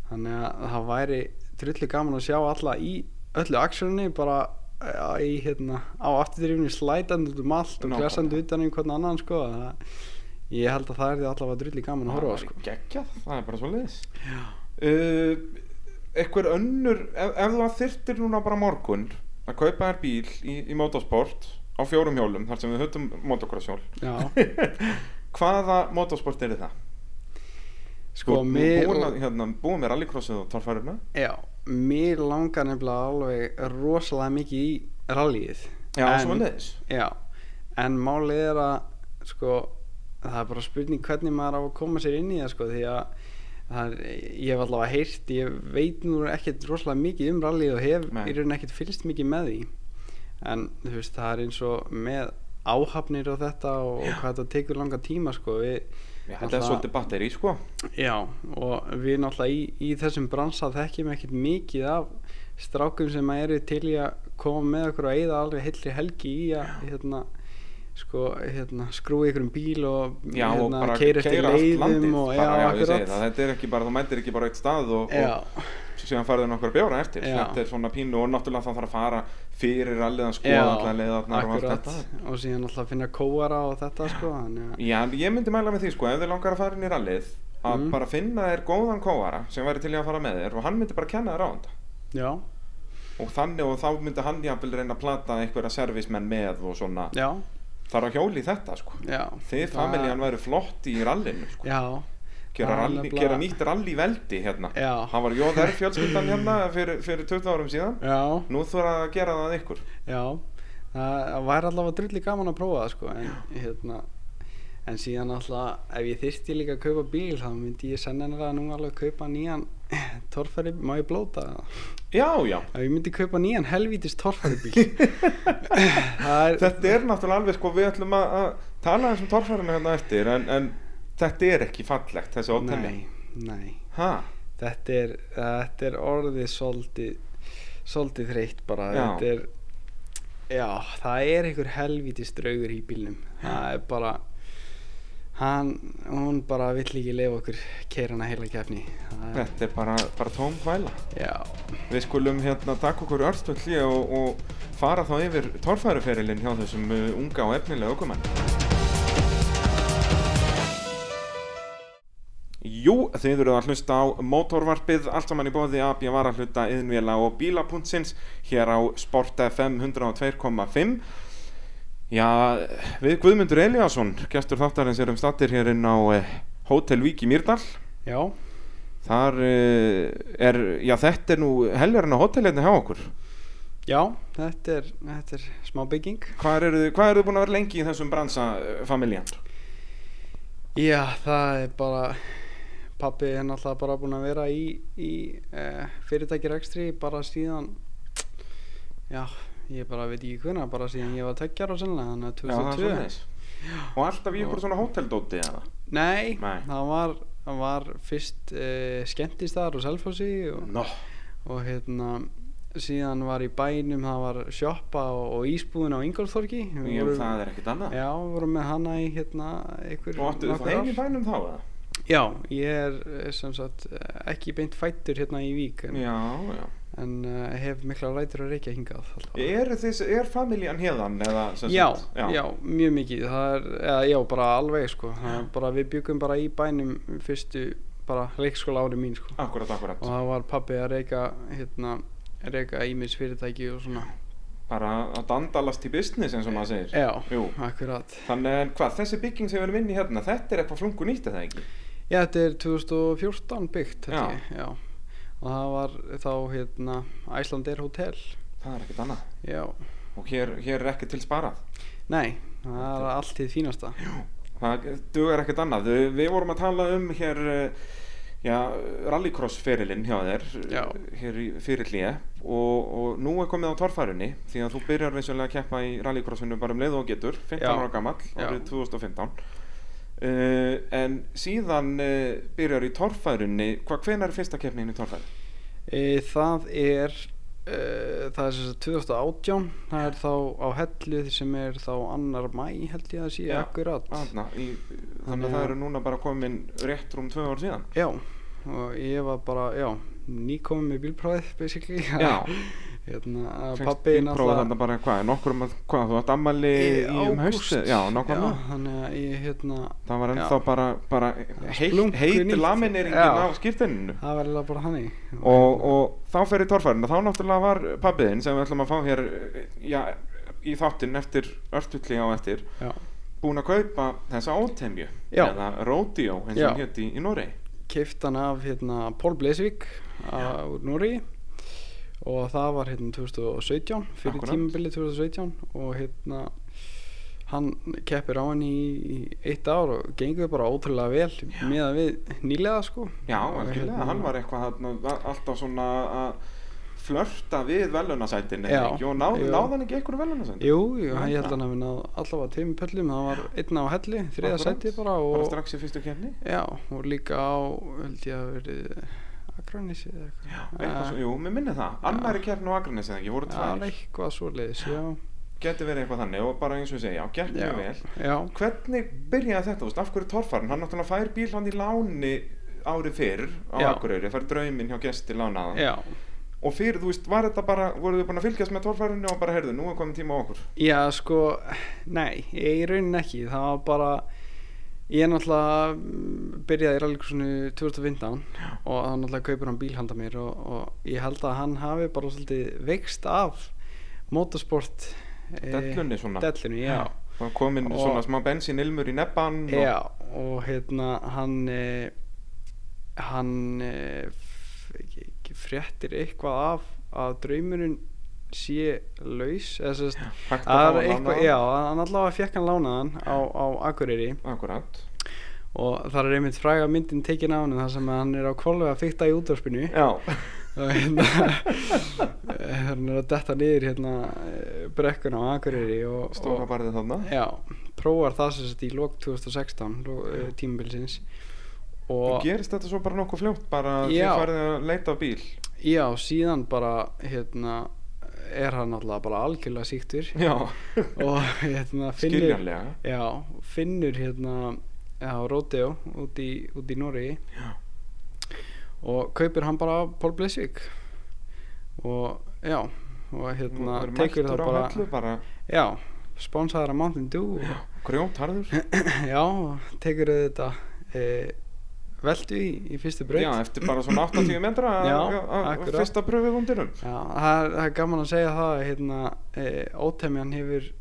[SPEAKER 2] þannig að það væri trullu gaman að sjá alla í öllu aksjóninni bara eh, í, hérna, á afturdrifinu slætandi út um allt og
[SPEAKER 1] Nákvæmlega.
[SPEAKER 2] klessandi utan um hvern annan sko. það, ég held að það er því allavega trullu gaman að horfa á, sko.
[SPEAKER 1] Geggjað, það er bara svo leiðis uh, Ekkur önnur, ef, ef það þyrtir núna bara morgun að kaupa þér bíl í, í motorsport á fjórum hjólum, þar sem við höfum motocrosshjól
[SPEAKER 2] já,
[SPEAKER 1] Hvaða motorsport er það?
[SPEAKER 2] sko, mér,
[SPEAKER 1] búin, að, hérna, búin með rallycrossið og torfæruna
[SPEAKER 2] já, mér langar nefnilega alveg rosalega mikið í rallyið
[SPEAKER 1] Já,
[SPEAKER 2] En-
[SPEAKER 1] svo leiðis
[SPEAKER 2] Já, en málið er að sko, það er bara spurning hvernig maður á að koma sér inn í það sko, því að það er, ég hef allavega heyrt ég veit nú ekkert rosalega mikið um rallið og hef
[SPEAKER 1] Nei.
[SPEAKER 2] í raun ekkert fylst mikið með því en þú veist, það er eins og með áhafnir og þetta og, og hvað þetta tekur langa tíma sko, við,
[SPEAKER 1] Þetta er
[SPEAKER 2] Náttúrulega-
[SPEAKER 1] svolítið batteri, sko
[SPEAKER 2] já, og við náttúrulega í, í þessum bransa þekkjum ekkert mikið af strákum sem eru til í að koma með okkur og eigða alveg heilri helgi í að hérna, sko, hérna, skrúi ykkur um bíl og
[SPEAKER 1] Já, og
[SPEAKER 2] hérna,
[SPEAKER 1] bara
[SPEAKER 2] keyra eftir
[SPEAKER 1] keyra allt landið,
[SPEAKER 2] leiðum og
[SPEAKER 1] bara, já, ég segi
[SPEAKER 2] akkurat.
[SPEAKER 1] það, Þetta er ekki bara, þú mætir ekki bara eitt stað og,
[SPEAKER 2] Já,
[SPEAKER 1] og síðan farið nokkar bjóra eftir
[SPEAKER 2] Já.
[SPEAKER 1] Þetta er svona pínu og náttúrulega það þarf að fara fyrir alliðan skoða
[SPEAKER 2] já,
[SPEAKER 1] allar leiðarnar og allt
[SPEAKER 2] akkurat
[SPEAKER 1] þetta
[SPEAKER 2] og síðan alltaf finna kóara og þetta sko, þannig að
[SPEAKER 1] Já, ég myndi mæla með því sko, ef þið langar að fara inn í rallið að
[SPEAKER 2] Mm.
[SPEAKER 1] bara finna þér góðan kóara sem væri til í að fara með þér og hann myndi bara kenna þér á þetta
[SPEAKER 2] já,
[SPEAKER 1] og þannig og þá myndi hann jafnvel reyna að plata einhverja servismenn með og svona
[SPEAKER 2] já,
[SPEAKER 1] þarf að hjóli í þetta sko
[SPEAKER 2] já
[SPEAKER 1] þið familjan væri flott í rallinu sko.
[SPEAKER 2] Já,
[SPEAKER 1] gera,
[SPEAKER 2] það er
[SPEAKER 1] ralli,
[SPEAKER 2] nefnilega-
[SPEAKER 1] gera nýtt ralli veldi hérna
[SPEAKER 2] Já.
[SPEAKER 1] hann var jóðar fjölskyldan hérna fyrir, fyrir 20 árum síðan
[SPEAKER 2] já
[SPEAKER 1] nú þú er að gera það að ykkur
[SPEAKER 2] Já, það væri allavega drulli gaman að prófa það sko en, hérna, en síðan alltaf ef ég þyrsti líka að kaupa bíl þá myndi ég sennilega nú alveg kaupa nýjan torfæri, má ég blóta það?
[SPEAKER 1] já, já
[SPEAKER 2] Ef ég myndi kaupa nýjan helvítist torfæri bíl Það er,
[SPEAKER 1] þetta er náttúrulega alveg sko við ætlum að, að tala eins um torfærinu hérna eftir en, en þetta er ekki fallegt þessi ótenni
[SPEAKER 2] nei, nei
[SPEAKER 1] ha,
[SPEAKER 2] þetta er, þetta er orðið svolítið svolítið þreytt bara
[SPEAKER 1] Já.
[SPEAKER 2] þetta er já, það er einhver helvítist draugur í bílnum það er bara hann, hún bara vill ekki lefa okkur keira hana heila kefni það er,
[SPEAKER 1] þetta er bara, bara tóm hvæla
[SPEAKER 2] já,
[SPEAKER 1] við skulum hérna taka okkur örstuð hlýja og, og fara þá yfir torfæruferilinn hjá þessum uh, unga og efnilega aukumann Jú, þið eruð að hlusta á mótorvarpið, allt saman í bóði AB Varahluta, Yðnvila og Bílapuntsins hér á Sport FM 102.5 Já, við Guðmundur Eliasson, gestur þáttarins erum stattir hér inn á eh, Hótel Vík í Mýrdal
[SPEAKER 2] já,
[SPEAKER 1] Þar uh, er, já þetta er nú helgarinn á hótelinu hjá okkur
[SPEAKER 2] já þetta er, þetta er smá bygging
[SPEAKER 1] Hvað eru þið, hvað eru þið búin að vera eh, lengi í þessum bransa familjan?
[SPEAKER 2] já, það er bara pappi er náttúrulega bara búin að vera í, í uh, fyrirtækirekstri bara síðan já, ég bara veit ekki hvena bara síðan ég var tökjar og sennilega þannig
[SPEAKER 1] Já,
[SPEAKER 2] að
[SPEAKER 1] það
[SPEAKER 2] 2002
[SPEAKER 1] er svoleiðis. Og alltaf í ykkur svona hóteldóti eða?
[SPEAKER 2] Nei,
[SPEAKER 1] Nei.
[SPEAKER 2] það var, það var fyrst uh, skemmtistaðar og selfhósi og,
[SPEAKER 1] Nó,
[SPEAKER 2] og hérna síðan var í bænum, það var sjoppa og, og ísbúðin á Ingolþorki Við
[SPEAKER 1] jú,
[SPEAKER 2] vorum-
[SPEAKER 1] það er ekkert annað.
[SPEAKER 2] Já, við vorum með hana í hérna einhver,
[SPEAKER 1] Og áttu
[SPEAKER 2] nokkur
[SPEAKER 1] það einu í
[SPEAKER 2] ár.
[SPEAKER 1] bænum þá eða?
[SPEAKER 2] Já, ég er eh, sem sagt eh, ekki beint fættur hérna í Vík en,
[SPEAKER 1] Já, já.
[SPEAKER 2] en uh, hef mikla rætur að reykja hingað alltaf.
[SPEAKER 1] Er, þess, er familjan hérðan eða? sem
[SPEAKER 2] já,
[SPEAKER 1] sagt-
[SPEAKER 2] já, mjög mikið það er, eða, já, bara alveg sko Það er bara, við byggum bara í bænum fyrstu bara leikskóla ári mín sko
[SPEAKER 1] Akkurat, akkurat.
[SPEAKER 2] og það var pabbi að reyka hérna, reyka ímis fyrirtæki og svona
[SPEAKER 1] Bara að dandalast í business eins og maður segir.
[SPEAKER 2] já,
[SPEAKER 1] Jú.
[SPEAKER 2] akkurat
[SPEAKER 1] Þannig en hvað, þessi bygging sem við erum inn í hérna, þetta er eitthvað flungu nýtt eða ekki?
[SPEAKER 2] já, þetta er 2014 byggt
[SPEAKER 1] Já.
[SPEAKER 2] já. Ég, já. og það var þá hérna, Æslandir Hotel
[SPEAKER 1] Það er ekkert annað.
[SPEAKER 2] já,
[SPEAKER 1] Og hér, hér er ekki til sparað.
[SPEAKER 2] nei, það er allt í fínasta
[SPEAKER 1] Það dugar ekkert annað. Við, við vorum að tala um hér, eh, já, rallycross ferilinn hjá þér,
[SPEAKER 2] Já.
[SPEAKER 1] eh, hér í fyrirlíja og, og nú er komið á torfærunni því að þú byrjar vissulega að keppa í rallycrossinu bara um leið og getur, 15
[SPEAKER 2] Já.
[SPEAKER 1] ára gamall,
[SPEAKER 2] Já.
[SPEAKER 1] árið 2015. Uh, en síðan uh, byrjar í torfærunni, hvað hvenær er fyrsta keppnin í torfæru?
[SPEAKER 2] e, það er Uh, það er sem sagt 2018 það er þá á hellu sem er þá annar mæ held ég að sé
[SPEAKER 1] Já.
[SPEAKER 2] akkurat
[SPEAKER 1] Aðna, í, þannig
[SPEAKER 2] Þannig
[SPEAKER 1] að það
[SPEAKER 2] að-
[SPEAKER 1] eru núna bara komin rétt rúm tvö ár síðan
[SPEAKER 2] Já, og ég var bara, já, nýkominn með bílprófið, basically.
[SPEAKER 1] Já.
[SPEAKER 2] hérna, að
[SPEAKER 1] Fengst
[SPEAKER 2] pabbi
[SPEAKER 1] bílprófið þarna bara hvað, nokkur um að, hvað, þú átt ammali í,
[SPEAKER 2] Í ágúst.
[SPEAKER 1] um haustu, já, nákvæmlega
[SPEAKER 2] Já, þannig að ég, hérna,
[SPEAKER 1] það var ennþá
[SPEAKER 2] Já.
[SPEAKER 1] bara, bara heit,
[SPEAKER 2] Splunkunýtt.
[SPEAKER 1] heit laminneringin
[SPEAKER 2] Já.
[SPEAKER 1] á skýrtininu
[SPEAKER 2] það var eiginlega bara hannig.
[SPEAKER 1] og, og þá fer í torfærinu, þá náttúrulega var pabbiðin sem við ætlum að fá hér já, í þáttinn eftir örtulli á eftir,
[SPEAKER 2] Já,
[SPEAKER 1] búin að kaupa þessa ótemju,
[SPEAKER 2] Já.
[SPEAKER 1] eða rodeo eins og
[SPEAKER 2] Já.
[SPEAKER 1] hún hétt í, í Noregi
[SPEAKER 2] keift hann af, hérna, Pól Bleisvík á- úr Núri og það var, hérna, 2017, fyrir
[SPEAKER 1] Akkúrat.
[SPEAKER 2] tímabilið 2017 og, hérna, hann keppir á henni í, í eitt ár og gengur bara ótrúlega vel meðan við nýlega, sko.
[SPEAKER 1] Já,
[SPEAKER 2] Og,
[SPEAKER 1] algjörlega,
[SPEAKER 2] hérna,
[SPEAKER 1] hann var eitthvað þarna, a- alltaf svona að flörta við velunasætin
[SPEAKER 2] Já,
[SPEAKER 1] ekki, og náð,
[SPEAKER 2] jú.
[SPEAKER 1] náði hann ekki einhverju velunasætin
[SPEAKER 2] Jú, jú hann- ég
[SPEAKER 1] það.
[SPEAKER 2] held hann að við náðum allavega tveim pöllum, það var einn á helli, þriða sæti bara og,
[SPEAKER 1] bara strax í fyrstu kefni
[SPEAKER 2] já, og líka á, held ég að verið Akranesi eða eitthvað.
[SPEAKER 1] eitthvað svo, jú, mér minni það, annari kefni á Akranes eða ekki, voru
[SPEAKER 2] Það er
[SPEAKER 1] tvær
[SPEAKER 2] eitthvað svoleiðis, já.
[SPEAKER 1] geti verið eitthvað þannig og bara eins og ég segja, já,
[SPEAKER 2] Já,
[SPEAKER 1] gekk mjög vel
[SPEAKER 2] já,
[SPEAKER 1] hvernig byrjaði þetta, þú veist, af hverju torfarn hann náttúrulega fær bíl hann í láni árið fyrr á
[SPEAKER 2] Já.
[SPEAKER 1] Akureyri, fær drauminn hjá gesti lánaðan
[SPEAKER 2] já.
[SPEAKER 1] og fyrir, þú veist, var þetta bara, voruð þið búin að fylgjast með torfarinu og bara, heyrðu, nú er komin tíma á okkur
[SPEAKER 2] Já, sko, nei, ég í rauninni ekki, það var bara, ég náttúrulega mm, byrjaði í rallikursinu 2015 og hann náttúrulega kaupir hann bíl handa mér og, og ég held að hann hafi bara svolítið veikst af motorsport eh,
[SPEAKER 1] Dellunni svona.
[SPEAKER 2] Dellunni, já.
[SPEAKER 1] Það komin
[SPEAKER 2] Og-
[SPEAKER 1] svona smá bensínilmur í nebban
[SPEAKER 2] Já, og hérna hann eh, hann eh, f- ekki- ekki fréttir eitthvað af að draumurinn sé laus eða sérst
[SPEAKER 1] og
[SPEAKER 2] Það
[SPEAKER 1] hægt að fá
[SPEAKER 2] er
[SPEAKER 1] að
[SPEAKER 2] eitthvað,
[SPEAKER 1] lána
[SPEAKER 2] já, hann allavega fekk hann lánaðan á, á Akureyri
[SPEAKER 1] Akkurat
[SPEAKER 2] og það er einmitt fræga myndin tekin á hann þar sem að hann er á kvolvi að fykta í útvarpinu
[SPEAKER 1] Já,
[SPEAKER 2] og hérna hann er að detta niður hérna eh, brekkuna á Akureyri og,
[SPEAKER 1] stóra
[SPEAKER 2] og
[SPEAKER 1] barðið þarna
[SPEAKER 2] já, prófar það sem sagt í lok 2016 lo- eh, tímabilsins
[SPEAKER 1] Og
[SPEAKER 2] og
[SPEAKER 1] gerist þetta svo bara nokkuð fljótt bara því
[SPEAKER 2] Já.
[SPEAKER 1] farið að leita á bíl
[SPEAKER 2] já, síðan bara hérna er hann allavega bara algjörlega síktur
[SPEAKER 1] Já,
[SPEAKER 2] og hérna finnur
[SPEAKER 1] skiljanlega
[SPEAKER 2] Já, finnur hérna á Rodeo út í, út í Noregi
[SPEAKER 1] Já.
[SPEAKER 2] og kaupir hann bara af Pól Blesvík og já og
[SPEAKER 1] Nú
[SPEAKER 2] hérna
[SPEAKER 1] er
[SPEAKER 2] tekur það
[SPEAKER 1] mættur á
[SPEAKER 2] bara
[SPEAKER 1] hellu bara
[SPEAKER 2] já, sponsaður af Mountain Dew og,
[SPEAKER 1] grjótarður
[SPEAKER 2] já, og tekur þetta e, veldu í, í fyrstu braut
[SPEAKER 1] Já, eftir bara svona 80 metra að-
[SPEAKER 2] Já,
[SPEAKER 1] að- að-
[SPEAKER 2] akkurat.
[SPEAKER 1] fyrsta pröfið vondinum
[SPEAKER 2] Já, það er, það er gaman að segja það að hérna, e, ótemjan hefur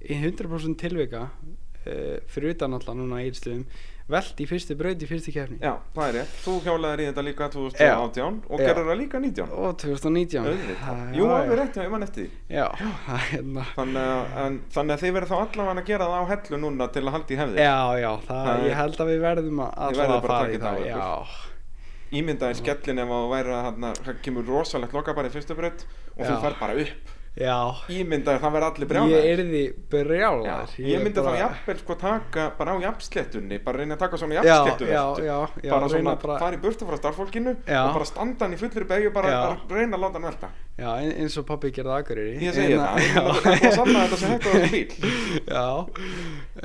[SPEAKER 2] í 100% tilvika uh, fyrir utan alltaf núna eilstöðum velt í fyrstu braut í fyrstu kefni
[SPEAKER 1] Já, það er rétt. Þú hjálaðir í þetta líka 2018 og
[SPEAKER 2] Já.
[SPEAKER 1] gerður það líka 19.
[SPEAKER 2] og 2019
[SPEAKER 1] Auðvitað.
[SPEAKER 2] Það-
[SPEAKER 1] Jú,
[SPEAKER 2] já,
[SPEAKER 1] alveg
[SPEAKER 2] já.
[SPEAKER 1] rétt, já, ég man eftir því.
[SPEAKER 2] já, það er hérna
[SPEAKER 1] Þannig að, en, þannig að þið verður þá allavega að gera það á hellu núna til að halda í hefði.
[SPEAKER 2] já, já, það,
[SPEAKER 1] Það er-
[SPEAKER 2] ég held að við verðum að
[SPEAKER 1] Þið
[SPEAKER 2] alltaf
[SPEAKER 1] verðið
[SPEAKER 2] að
[SPEAKER 1] bara að
[SPEAKER 2] fara
[SPEAKER 1] taka
[SPEAKER 2] í
[SPEAKER 1] þetta á
[SPEAKER 2] það
[SPEAKER 1] ykkur.
[SPEAKER 2] já,
[SPEAKER 1] Ímyndaði skellin ef að þú væri að þarna, það kemur rosalegt loka bara í fyrstu breytt og þú
[SPEAKER 2] Já.
[SPEAKER 1] fær bara upp.
[SPEAKER 2] já
[SPEAKER 1] Ímyndaði það verður allir brjánar.
[SPEAKER 2] ég erði brjálar
[SPEAKER 1] Já, ég myndi þá jafnvel sko taka bara á jafnsléttunni, bara reyna að taka svona
[SPEAKER 2] já,
[SPEAKER 1] jafnsléttu
[SPEAKER 2] já, já, já,
[SPEAKER 1] bara
[SPEAKER 2] reyna
[SPEAKER 1] svona
[SPEAKER 2] bara-
[SPEAKER 1] fara í burtu frá starffólkinu
[SPEAKER 2] Já.
[SPEAKER 1] og bara standa hann í fullri beigju bara
[SPEAKER 2] Já.
[SPEAKER 1] að reyna að láta hann velta
[SPEAKER 2] já, ein- eins og pappi gerði aðgurir
[SPEAKER 1] ég segi það, ég myndi að það sanna þetta sem hægt á þessu bíl
[SPEAKER 2] já,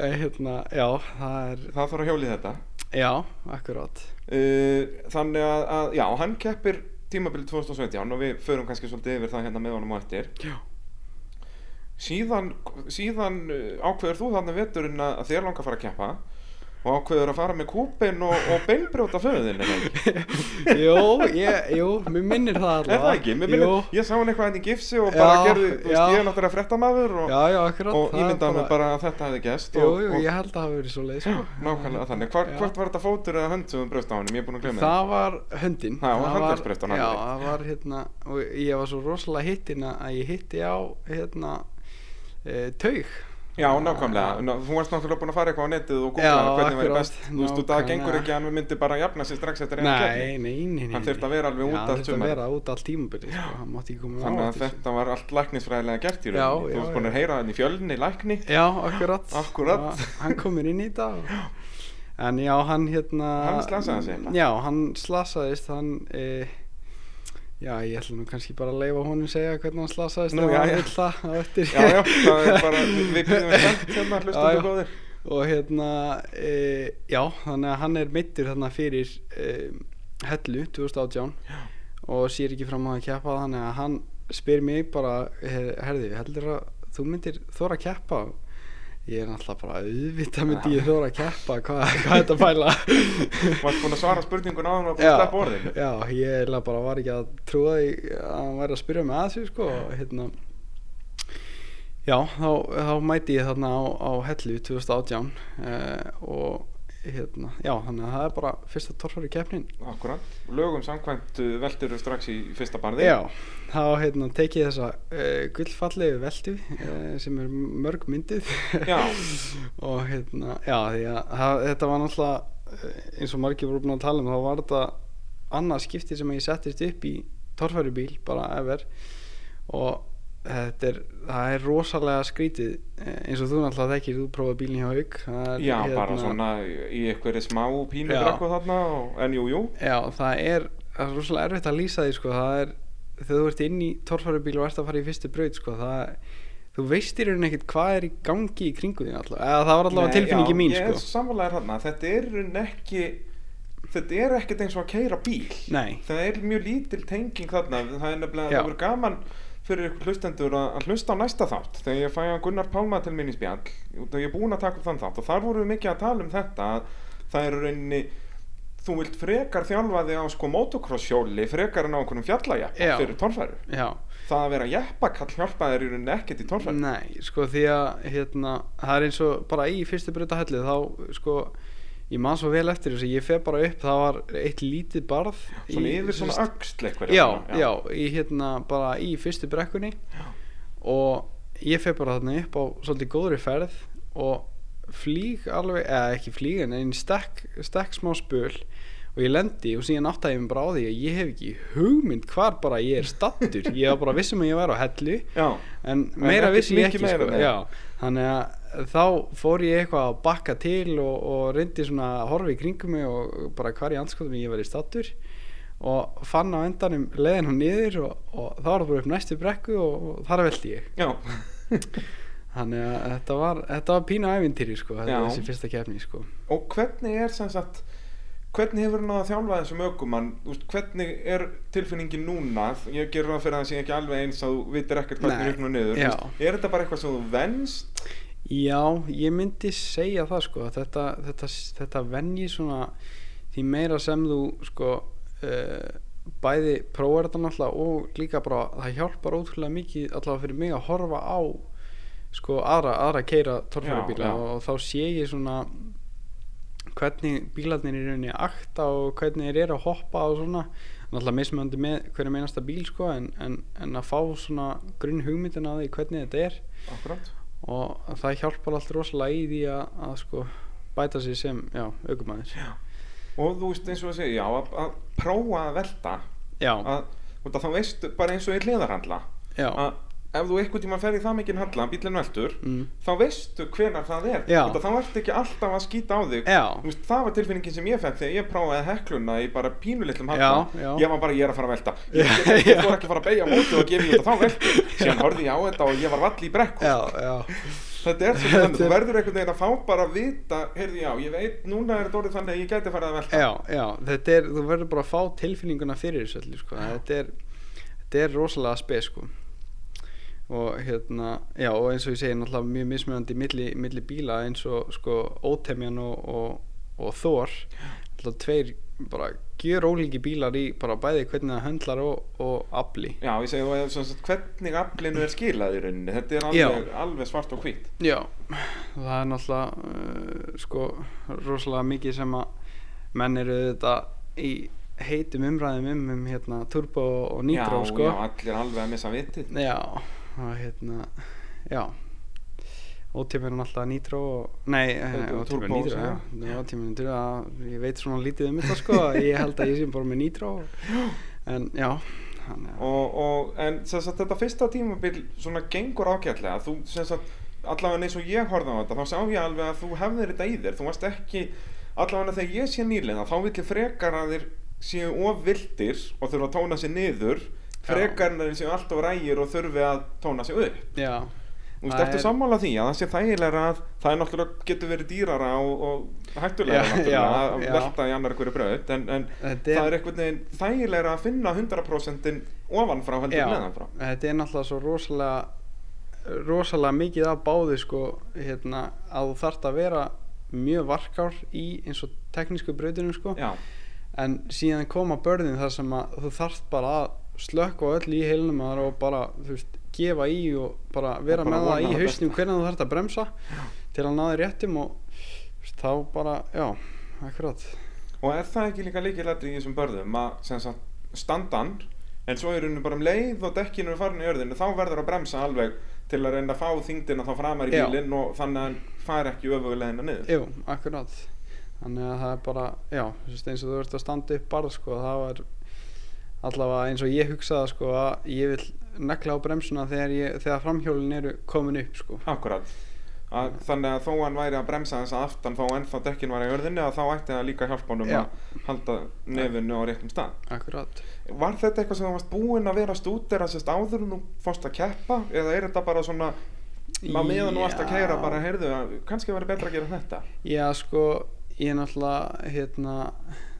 [SPEAKER 2] eh, hérna, já, það er
[SPEAKER 1] það þarf að hjóli þetta
[SPEAKER 2] já, akkurát
[SPEAKER 1] uh, þannig að, að, já, hann keppir tímabilið 2017 og við förum kannski svolítið yfir það hérna með honum á eftir
[SPEAKER 2] já,
[SPEAKER 1] síðan, síðan uh, ákveður þú þarna veturinn að að þér langar að fara að keppa og ákveður að fara með kúpin og, og beinbrjóta föðin er það ekki?
[SPEAKER 2] Jú, ég, jú, mér minnir það allavega
[SPEAKER 1] Er það ekki? Mér minnir,
[SPEAKER 2] Jú,
[SPEAKER 1] ég sá hann eitthvað henni gifsi
[SPEAKER 2] Já,
[SPEAKER 1] og bara gerði, þú veist,
[SPEAKER 2] já.
[SPEAKER 1] ég er náttúrulega fréttamaður og,
[SPEAKER 2] já, já, akkurat
[SPEAKER 1] og
[SPEAKER 2] það er
[SPEAKER 1] ímyndaði mig bara að þetta hefði gest
[SPEAKER 2] Jú,
[SPEAKER 1] og,
[SPEAKER 2] jú,
[SPEAKER 1] og
[SPEAKER 2] ég held að það hafi verið svo leið sko.
[SPEAKER 1] nákvæmlega þannig. Hvar,
[SPEAKER 2] Já.
[SPEAKER 1] hvort var þetta fótur eða hönd sem þú braust á honum? Ég er búin að glemja það.
[SPEAKER 2] Það var höndin
[SPEAKER 1] Það var
[SPEAKER 2] var-
[SPEAKER 1] handleggsbrestan
[SPEAKER 2] Já,
[SPEAKER 1] alveg.
[SPEAKER 2] það var hérna og ég var svo rosalega hittin að ég hitti á hérna e, taug
[SPEAKER 1] Já, nákvæmlega. Ná, Þú varst náttúrulega búin að fara eitthvað á netið og
[SPEAKER 2] Já,
[SPEAKER 1] googlaði hvernig væri
[SPEAKER 2] akkurat,
[SPEAKER 1] best. Þú veist, þú það
[SPEAKER 2] nákvæmlega.
[SPEAKER 1] gengur ekki að hann myndi bara jafna sér strax eftir einu
[SPEAKER 2] Nei,
[SPEAKER 1] keppni.
[SPEAKER 2] nei, nei, nei
[SPEAKER 1] Hann þurfti að vera alveg út
[SPEAKER 2] Já,
[SPEAKER 1] allt
[SPEAKER 2] hann þurfti að
[SPEAKER 1] sumarið.
[SPEAKER 2] vera út allt tímabili sko. Hann mátti ekki koma
[SPEAKER 1] Þannig
[SPEAKER 2] á
[SPEAKER 1] að
[SPEAKER 2] eftir.
[SPEAKER 1] þetta var allt læknisfræðilega gert í
[SPEAKER 2] Já,
[SPEAKER 1] rauninni.
[SPEAKER 2] já,
[SPEAKER 1] Þú varst búin
[SPEAKER 2] já.
[SPEAKER 1] að heyra hann í fjölni, lækni.
[SPEAKER 2] Já, akkurat
[SPEAKER 1] Akkurat.
[SPEAKER 2] Og Hann komur inn í þetta og... En já, hann hérna
[SPEAKER 1] Hann slasaði sig eitthvað?
[SPEAKER 2] Já, hann slasaðist Hann e... Já, ég ætla nú kannski bara að leifa honum segja hvernig hann slasaðist
[SPEAKER 1] Nú,
[SPEAKER 2] ef
[SPEAKER 1] já,
[SPEAKER 2] hann
[SPEAKER 1] já.
[SPEAKER 2] vill það á eftir
[SPEAKER 1] Já, já, það er bara, við byrjum við sent hérna,
[SPEAKER 2] Já,
[SPEAKER 1] hlustum
[SPEAKER 2] já.
[SPEAKER 1] þú góðir.
[SPEAKER 2] Og hérna e... Já, þannig að hann er meittur þarna fyrir e... Hellu 2018 já. Og sér ekki fram á að keppa Þannig að hann spyr mig bara "Her- Herði, heldur að þú myndir þóra að keppa Ég er náttúrulega bara auðvitað myndi ég þóra að keppa hvað, hvað er þetta að pæla
[SPEAKER 1] Varst búin að svara spurningun á hann og búin að
[SPEAKER 2] Já,
[SPEAKER 1] sleppa orðinu.
[SPEAKER 2] já, ég eiginlega bara var ekki að trúa því að hann væri að spyrja mig að þessu sko, og hérna Já, þá, þá mæti ég þarna á, á Hellu 2018 eh, og hérna, já, þannig að það er bara fyrsta torfari keppnin
[SPEAKER 1] Akkurat, lögum samkvæmt uh, veldur þú strax í fyrsta barði
[SPEAKER 2] Já, þá hérna tekið ég þessa uh, gullfallegu veldu uh, sem er mörg myndið
[SPEAKER 1] Já.
[SPEAKER 2] og hérna, já því að það, þetta var náttúrulega eh, eins og margir voru búin að tala um þá var þetta annað skipti sem ég settist upp í torfærubíl bara efer og þetta er, það er rosalega skrítið eh, eins og þú náttúrulega þekkir, þú prófaði bílinn hjá haug það er
[SPEAKER 1] Já, bara svona í einhverju smá pínu
[SPEAKER 2] Hérna- Já.
[SPEAKER 1] brekku þarna og, En jú, jú
[SPEAKER 2] Já, það er, það er rosalega erfitt að lýsa því sko. það er, þegar þú ert inn í torfærubíl og ert að fara í fyrstu braut sko. það, þú veist í rauninni ekkert hvað er í gangi í kringu þín alltaf, eða það var
[SPEAKER 1] Nei,
[SPEAKER 2] alltaf tilfinningi
[SPEAKER 1] já,
[SPEAKER 2] mín
[SPEAKER 1] Ég
[SPEAKER 2] sko.
[SPEAKER 1] er samanlegaður þarna, þetta er í rauninni ekki Þetta er ekkert eins og að keira bíl
[SPEAKER 2] Nei,
[SPEAKER 1] Það er mjög lítil tenging þarna Það er nefnilega,
[SPEAKER 2] Já.
[SPEAKER 1] það verður gaman fyrir ykkur hlustendur að, að hlusta á næsta þátt Þegar ég fæ að Gunnar Pálma til mín í spjall og ég er búin að taka upp þann þátt og þar vorum við mikið að tala um þetta að Það er í rauninni Þú vilt frekar þjálfa þig á sko motocross hjóli frekar en á einhvernum fjallajappa
[SPEAKER 2] Já.
[SPEAKER 1] fyrir torfæru
[SPEAKER 2] já
[SPEAKER 1] það að vera jeppakall hjálpa þér í rauninni ekkert í torfæri
[SPEAKER 2] Nei, sko því að hérna, það er eins og bara í fyrstu brautahellu þá sko ég man svo vel eftir þessu, ég fer bara upp það var eitt lítið barð
[SPEAKER 1] svona
[SPEAKER 2] í-
[SPEAKER 1] yfir
[SPEAKER 2] sem
[SPEAKER 1] svona
[SPEAKER 2] sagt-
[SPEAKER 1] öxl eitthvað
[SPEAKER 2] já, já, í hérna bara í fyrstu brekkunni og ég fer bara þarna upp á svolítið góðri ferð og flýg alveg, eða ekki flýg en einn stekk, stekk smá spöl og ég lendi og síðan áttaði ég mig bara á því að ég hef ekki hugmynd hvar bara ég er stattur ég var bara vissum að ég væri á hellu
[SPEAKER 1] já.
[SPEAKER 2] en
[SPEAKER 1] En
[SPEAKER 2] meira
[SPEAKER 1] ekkert
[SPEAKER 2] vissi ég
[SPEAKER 1] mikið
[SPEAKER 2] ekki
[SPEAKER 1] meira,
[SPEAKER 2] sko.
[SPEAKER 1] nei.
[SPEAKER 2] Já, þannig að þá fór ég eitthvað að bakka til og, og reyndi svona að horfa í kringum mig og bara hvar í anskotum ég var í stattur og fann á endanum leiðin hann niður og, og þá var það bara upp næstu brekku og, og þar veldi ég
[SPEAKER 1] já.
[SPEAKER 2] þannig að þetta var, þetta var pínu ævintýri sko, þetta
[SPEAKER 1] Já.
[SPEAKER 2] var þessi fyrsta kefni sko.
[SPEAKER 1] og hvernig er sem sagt hvernig hefur hann að þjálfa þessum ökumann Úst, hvernig er tilfinningin núna ég gerur það fyrir að það sé ekki alveg eins að þú vitir ekkert hvernig
[SPEAKER 2] Nei,
[SPEAKER 1] er upp og niður
[SPEAKER 2] já.
[SPEAKER 1] Úst, er þetta bara eitthvað sem þú venst
[SPEAKER 2] já, ég myndi segja það sko, að þetta, þetta, þetta venji svona því meira sem þú sko uh, bæði prófar þetta náttúrulega og líka bara það hjálpar ótrúlega mikið allavega fyrir mig að horfa á sko aðra, aðra keira torfærubíla
[SPEAKER 1] Já, já.
[SPEAKER 2] og þá sé ég svona hvernig bílarnir er rauninni akta og hvernig þeir eru að hoppa og svona náttúrulega mismöndi með hverjum einasta bíl sko en, en, en að fá svona grunn hugmyndina að því hvernig þetta er
[SPEAKER 1] akkurát
[SPEAKER 2] og það hjálpar alltaf rosalega í því að, að sko bæta sig sem, já, aukumæður já,
[SPEAKER 1] og þú veist eins og að segja, já, að, að prófa að velta
[SPEAKER 2] já,
[SPEAKER 1] að, að þá veistu bara eins og í hliðarhandla
[SPEAKER 2] já,
[SPEAKER 1] að ef þú einhvern tíma fer í það mikinn handla bílinn veltur,
[SPEAKER 2] mm,
[SPEAKER 1] þá veistu hvenar það er
[SPEAKER 2] Já.
[SPEAKER 1] Út af þá ertu ekki alltaf að skýta á þig
[SPEAKER 2] já.
[SPEAKER 1] Þú veist, það var tilfinningin sem ég fekk þegar ég prófaði hekluna í bara pínulitlum
[SPEAKER 2] Já,
[SPEAKER 1] handla
[SPEAKER 2] já.
[SPEAKER 1] ég var bara, ég er að fara að velta ég,
[SPEAKER 2] Já,
[SPEAKER 1] ég, ég,
[SPEAKER 2] já.
[SPEAKER 1] fór ekki að fara að beigja móti og gefa í þetta þá veltu síðan horfði ég á þetta og ég var vall í brekku
[SPEAKER 2] já, já,
[SPEAKER 1] þetta er
[SPEAKER 2] Þetta er-
[SPEAKER 1] svolítið þannig, þú verður einhvern veginn að fá bara að vita heyrðu já, ég veit, núna er þetta orðið þannig að ég gæti farið að velta
[SPEAKER 2] já, já, þetta er, þú verður bara að fá tilfinninguna fyrir þessu allir, sko, þetta er, þetta er rosalega spes, sko, og hérna, já, og eins og ég segi, náttúrulega mjög mismunandi milli, milli bíla eins og, sko, ótemjan og, og, og þór, náttúrulega tveir bara gjör ólíki bílar í bara bæði hvernig það höndlar og, og afli.
[SPEAKER 1] já, ég segi þú, eða sem sagt, hvernig aflinu er skilað í rauninni þetta er
[SPEAKER 2] Já.
[SPEAKER 1] alveg, alveg svart og hvít
[SPEAKER 2] Já, það er náttúrulega uh, sko rosalega mikið sem að menn eru þetta í heitum umræðum um, um hérna turbo og nitró
[SPEAKER 1] já,
[SPEAKER 2] sko
[SPEAKER 1] já, allir alveg að missa vitið
[SPEAKER 2] já, og hérna já ótíminn er náttúrulega nitró og, nei, eh,
[SPEAKER 1] Turbo-
[SPEAKER 2] ótíminn
[SPEAKER 1] turbo,
[SPEAKER 2] nitró
[SPEAKER 1] já.
[SPEAKER 2] já, ótíminn nitró að ég veit svona lítið um þetta sko að ég held að ég sé bara með nitró en já, hann, já.
[SPEAKER 1] og, og, en sem sagt, þetta fyrsta tímabil svona gengur ágætlega þú sem sagt, allavega eins og ég horfði á þetta þá sá ég alveg að þú hefðir þetta í þér þú varst ekki, allavega þegar ég sé nýlega þá vil ég frekar að þér séu ofvildir og þurfa að tóna sér niður frekar en að þeir séu allt og rægir og þurfi að tóna sér upp
[SPEAKER 2] já,
[SPEAKER 1] Þú veist,
[SPEAKER 2] Það
[SPEAKER 1] ertu
[SPEAKER 2] er-
[SPEAKER 1] sammála því að það sé þægilega að það er náttúrulega getur verið dýrara og, og hættulega
[SPEAKER 2] Já,
[SPEAKER 1] náttúrulega
[SPEAKER 2] já,
[SPEAKER 1] að
[SPEAKER 2] já.
[SPEAKER 1] velta í annar hverju braut en, en
[SPEAKER 2] Þetta er-
[SPEAKER 1] það er einhvern veginn þægilega að finna 100% ofanfrá heldur
[SPEAKER 2] Já,
[SPEAKER 1] en neðanfrá
[SPEAKER 2] þetta er náttúrulega svo rosalega rosalega mikið af báði sko, hérna, að þú þarft að vera mjög varkár í eins og teknísku brautunum sko.
[SPEAKER 1] Já,
[SPEAKER 2] en síðan koma börðin þar sem að þú þarft bara að slökka á öll í heilnum að og bara þú veist, gefa í og bara vera
[SPEAKER 1] bara
[SPEAKER 2] með
[SPEAKER 1] vona
[SPEAKER 2] það í
[SPEAKER 1] það
[SPEAKER 2] hausnum hvernig þú þarft að bremsa til að ná þér réttum og þú veist, þá bara, já, akkurat
[SPEAKER 1] og er það ekki líka líkilætri í þessum börðum að sem sagt, standan en svo er henni bara um leið og dekkinu er farin í örðinu þá verður að bremsa alveg til að reyna að fá þyngdina þá framar í
[SPEAKER 2] Já.
[SPEAKER 1] bílinn og þannig að hann fær ekki öfugulegina niður
[SPEAKER 2] Jú, akkurát Þannig að það er bara, já, þú veist, eins og þú ert að standa upp bara sko, það var allavega eins og ég hugsaði sko að ég vil negla á bremsuna þegar, ég, þegar framhjólin eru komin upp sko
[SPEAKER 1] Akkurat að, Þannig að þó hann væri að bremsa þess að aftan þá ennþá dekkin var í örðinni að þá ætti það líka hjálpa honum
[SPEAKER 2] Já.
[SPEAKER 1] að halda nefinu á réttum stað
[SPEAKER 2] Akkurát
[SPEAKER 1] Var þetta eitthvað sem þú varst búinn að vera stúdera sérst áður en þú fórst að keppa eða er þetta bara svona á meðan þú varst að
[SPEAKER 2] Já.
[SPEAKER 1] keira bara heyrðu að kannski væri betra að gera þetta
[SPEAKER 2] Já, sko, ég er náttúrulega, hérna,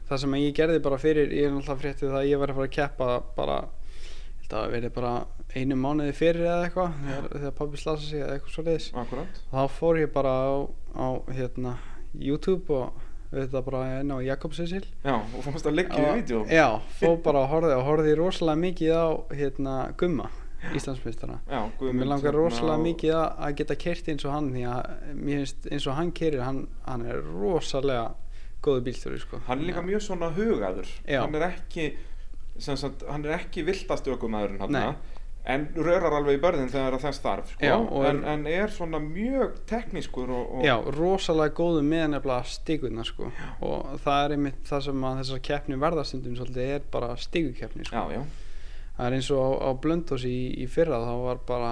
[SPEAKER 2] það sem ég gerði bara fyrir, ég er náttúrulega fréttið það að ég var að fara að keppa bara, ég held að það verið bara einu mánuði fyrir eða eitthvað, þegar, þegar pabbi slasa sig eða eitthvað svo leiðis.
[SPEAKER 1] Akkurat
[SPEAKER 2] þá fór ég bara á, á hérna, YouTube og auðvitað bara inn á Jakob Cecil
[SPEAKER 1] Já og fórst að liggja í vídeo
[SPEAKER 2] já, fór bara að horfið og horfið rosalega mikið á hérna, Gumma, Íslandsmeistara
[SPEAKER 1] Já, Guðmund
[SPEAKER 2] mér langar
[SPEAKER 1] hérna,
[SPEAKER 2] rosalega
[SPEAKER 1] og-
[SPEAKER 2] mikið að, að geta kert eins og hann því að mér finnst eins og hann kerir hann, hann er rosalega góðu bílstjóri sko.
[SPEAKER 1] Hann er líka mjög svona hugaður
[SPEAKER 2] Já.
[SPEAKER 1] Hann er ekki sem sagt, hann er ekki viltast ökumæðurinn
[SPEAKER 2] Nei.
[SPEAKER 1] hann en rörar alveg í börðin þegar þess þarf sko.
[SPEAKER 2] Já, og er-
[SPEAKER 1] en, en er svona mjög teknískur og, og
[SPEAKER 2] Já, rosalega góðu með nefnilega stígurna sko. og það er einmitt það sem að þessar keppni verðastundum svolítið er bara stígukeppni sko.
[SPEAKER 1] já, já.
[SPEAKER 2] það er eins og á, á Blöndósi í, í fyrra þá var bara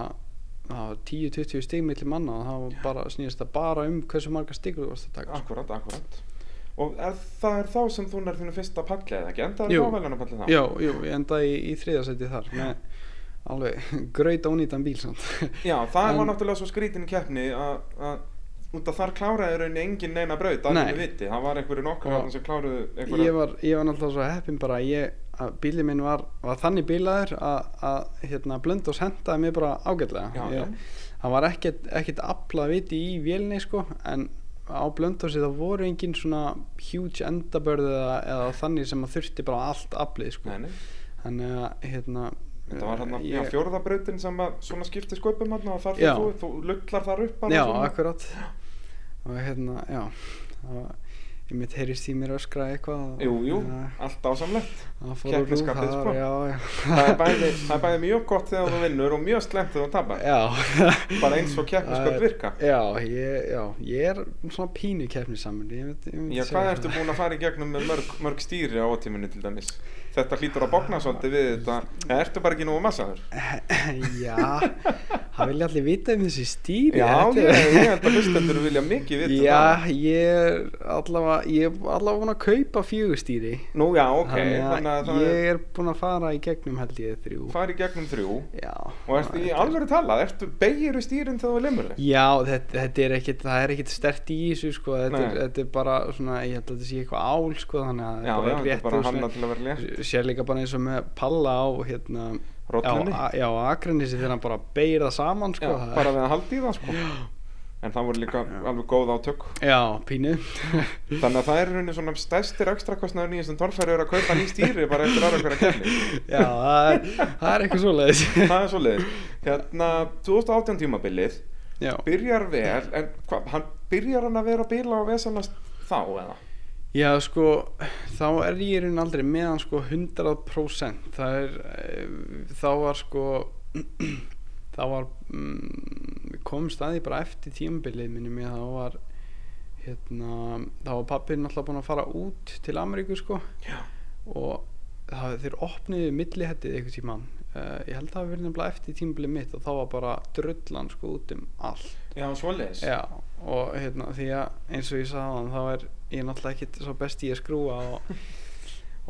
[SPEAKER 2] það var 10-20 stig milli manna og það var bara snýðist það bara um hversu marga stig þú varst að taka sko.
[SPEAKER 1] akkurat, akkurat og er, það er þá sem þú nær þínu fyrsta palli eða ekki, endaði
[SPEAKER 2] Jú.
[SPEAKER 1] þá vel hann að palli það
[SPEAKER 2] já, jú, ég endaði í, í þriðasæti þar með alveg gröyt ónýtan bíl samt
[SPEAKER 1] Já, það
[SPEAKER 2] En-
[SPEAKER 1] var náttúrulega svo skrítin keppni að að- út að þar kláraði í rauninni engin neina braut að
[SPEAKER 2] Nei.
[SPEAKER 1] henni viti, það var einhverju nokkur
[SPEAKER 2] Og-
[SPEAKER 1] þarna sem kláruðu einhverja
[SPEAKER 2] ég var, ég var náttúrulega svo heppin bara að ég, að bílið minn var, var þannig bílaður að, að hérna, Blöndós hendaði mér bara ágætlega
[SPEAKER 1] Já, já.
[SPEAKER 2] ég, það var ekkert, ekkert afla viti í vélni sko en á Blöndósi það voru engin svona huge endabörð eða, eða þannig sem að þurfti bara allt aflið sko
[SPEAKER 1] Nei, nei.
[SPEAKER 2] þannig að hérna
[SPEAKER 1] Þetta var hérna
[SPEAKER 2] Eh,
[SPEAKER 1] ég...
[SPEAKER 2] ég-
[SPEAKER 1] fjórðabrautin sem að svona skipti sköpum hérna og þar
[SPEAKER 2] Já.
[SPEAKER 1] fyrir þú, þú lullar þar upp bara
[SPEAKER 2] já,
[SPEAKER 1] svona.
[SPEAKER 2] akkurat og hérna, já það var, ég mitt heyrist í mér öskra eitthvað
[SPEAKER 1] Jú, jú,
[SPEAKER 2] Já,
[SPEAKER 1] allt dásamlegt
[SPEAKER 2] það fór úr rúf
[SPEAKER 1] keppnisskapið, sko.
[SPEAKER 2] þar, já, já
[SPEAKER 1] það, er bæði, það er bæði mjög gott þegar þú vinnur og mjög slemt þegar þú tapar
[SPEAKER 2] já,
[SPEAKER 1] Bara eins og keppnisköp
[SPEAKER 2] Það er-
[SPEAKER 1] virka
[SPEAKER 2] já, ég, já, ég er svona pínu keppnisamur ég myndi, ég myndi
[SPEAKER 1] Já,
[SPEAKER 2] segja
[SPEAKER 1] hvað
[SPEAKER 2] það.
[SPEAKER 1] ertu búin að fara í gegnum með mörg, mörg stýri á ótíminni til dæmis? Þetta hlýtur að bókna svolítið við þetta Eða ertu bara ekki nógu massaður?
[SPEAKER 2] Já, það vilja allir vita um þessi stýri
[SPEAKER 1] Já,
[SPEAKER 2] þetta
[SPEAKER 1] ég,
[SPEAKER 2] er-
[SPEAKER 1] ég held að hlustendur vilja mikið vita um
[SPEAKER 2] Já,
[SPEAKER 1] það.
[SPEAKER 2] ég er allavega ég er allavega búin að kaupa fjögustýri
[SPEAKER 1] Nú, já, ok, þannig
[SPEAKER 2] þannig
[SPEAKER 1] að
[SPEAKER 2] að
[SPEAKER 1] það
[SPEAKER 2] ég er búin að fara í gegnum held ég þrjú
[SPEAKER 1] fara í gegnum þrjú
[SPEAKER 2] Já
[SPEAKER 1] Og ertu í
[SPEAKER 2] þetta er-
[SPEAKER 1] alvöru talað, ertu beigiru stýrin þegar þú lemur þig?
[SPEAKER 2] Já, þetta, þetta er ekkit, það er ekkit stert í þessu sko, þetta, er,
[SPEAKER 1] Nei.
[SPEAKER 2] þetta er bara svona, ég held að þetta sé eitthvað ál sko, þannig að
[SPEAKER 1] Já, já,
[SPEAKER 2] bara
[SPEAKER 1] þetta er
[SPEAKER 2] rétt
[SPEAKER 1] bara
[SPEAKER 2] og svona-
[SPEAKER 1] hanna til að vera létt
[SPEAKER 2] sér líka bara eins og með palla á hérna
[SPEAKER 1] Rollunni?
[SPEAKER 2] á, á- já, á Akranesi þegar hann bara beir það saman
[SPEAKER 1] Já,
[SPEAKER 2] sko, það er-
[SPEAKER 1] bara við að halda í það sko En það voru líka alveg góð átök
[SPEAKER 2] já, pínu
[SPEAKER 1] Þannig að það er í rauninni svona stærstir ekstra kostnaður nýjum sem torfæri eru að kaupa ný stýri bara eftir aðra hverja kemni
[SPEAKER 2] já, það er, það er eitthvað svoleiðis
[SPEAKER 1] Það er svo leiðis Hérna, 2018 tímabilið
[SPEAKER 2] já,
[SPEAKER 1] Byrjar vel, en hva, hann byrjar hann að vera að bíla og vesalast þá eða?
[SPEAKER 2] já, sko þá er ég í raun aldrei með hann sko 100% það er eh, þá var sko þá var mm, kom staði bara eftir tímabilið minnum ég þá var hérna, þá var pappirinn alltaf búin að fara út til Ameríku sko
[SPEAKER 1] Já
[SPEAKER 2] og það, þeir opnuðu millihettið einhvern tímann uh, ég held að það hafi verið nefnilega eftir tímabilið mitt og þá var bara drullan sko út um allt
[SPEAKER 1] Já, svo leiðis
[SPEAKER 2] já, og hérna því að eins og ég sagði hann þá er ég náttúrulega ekkit svo best í að skrúa og,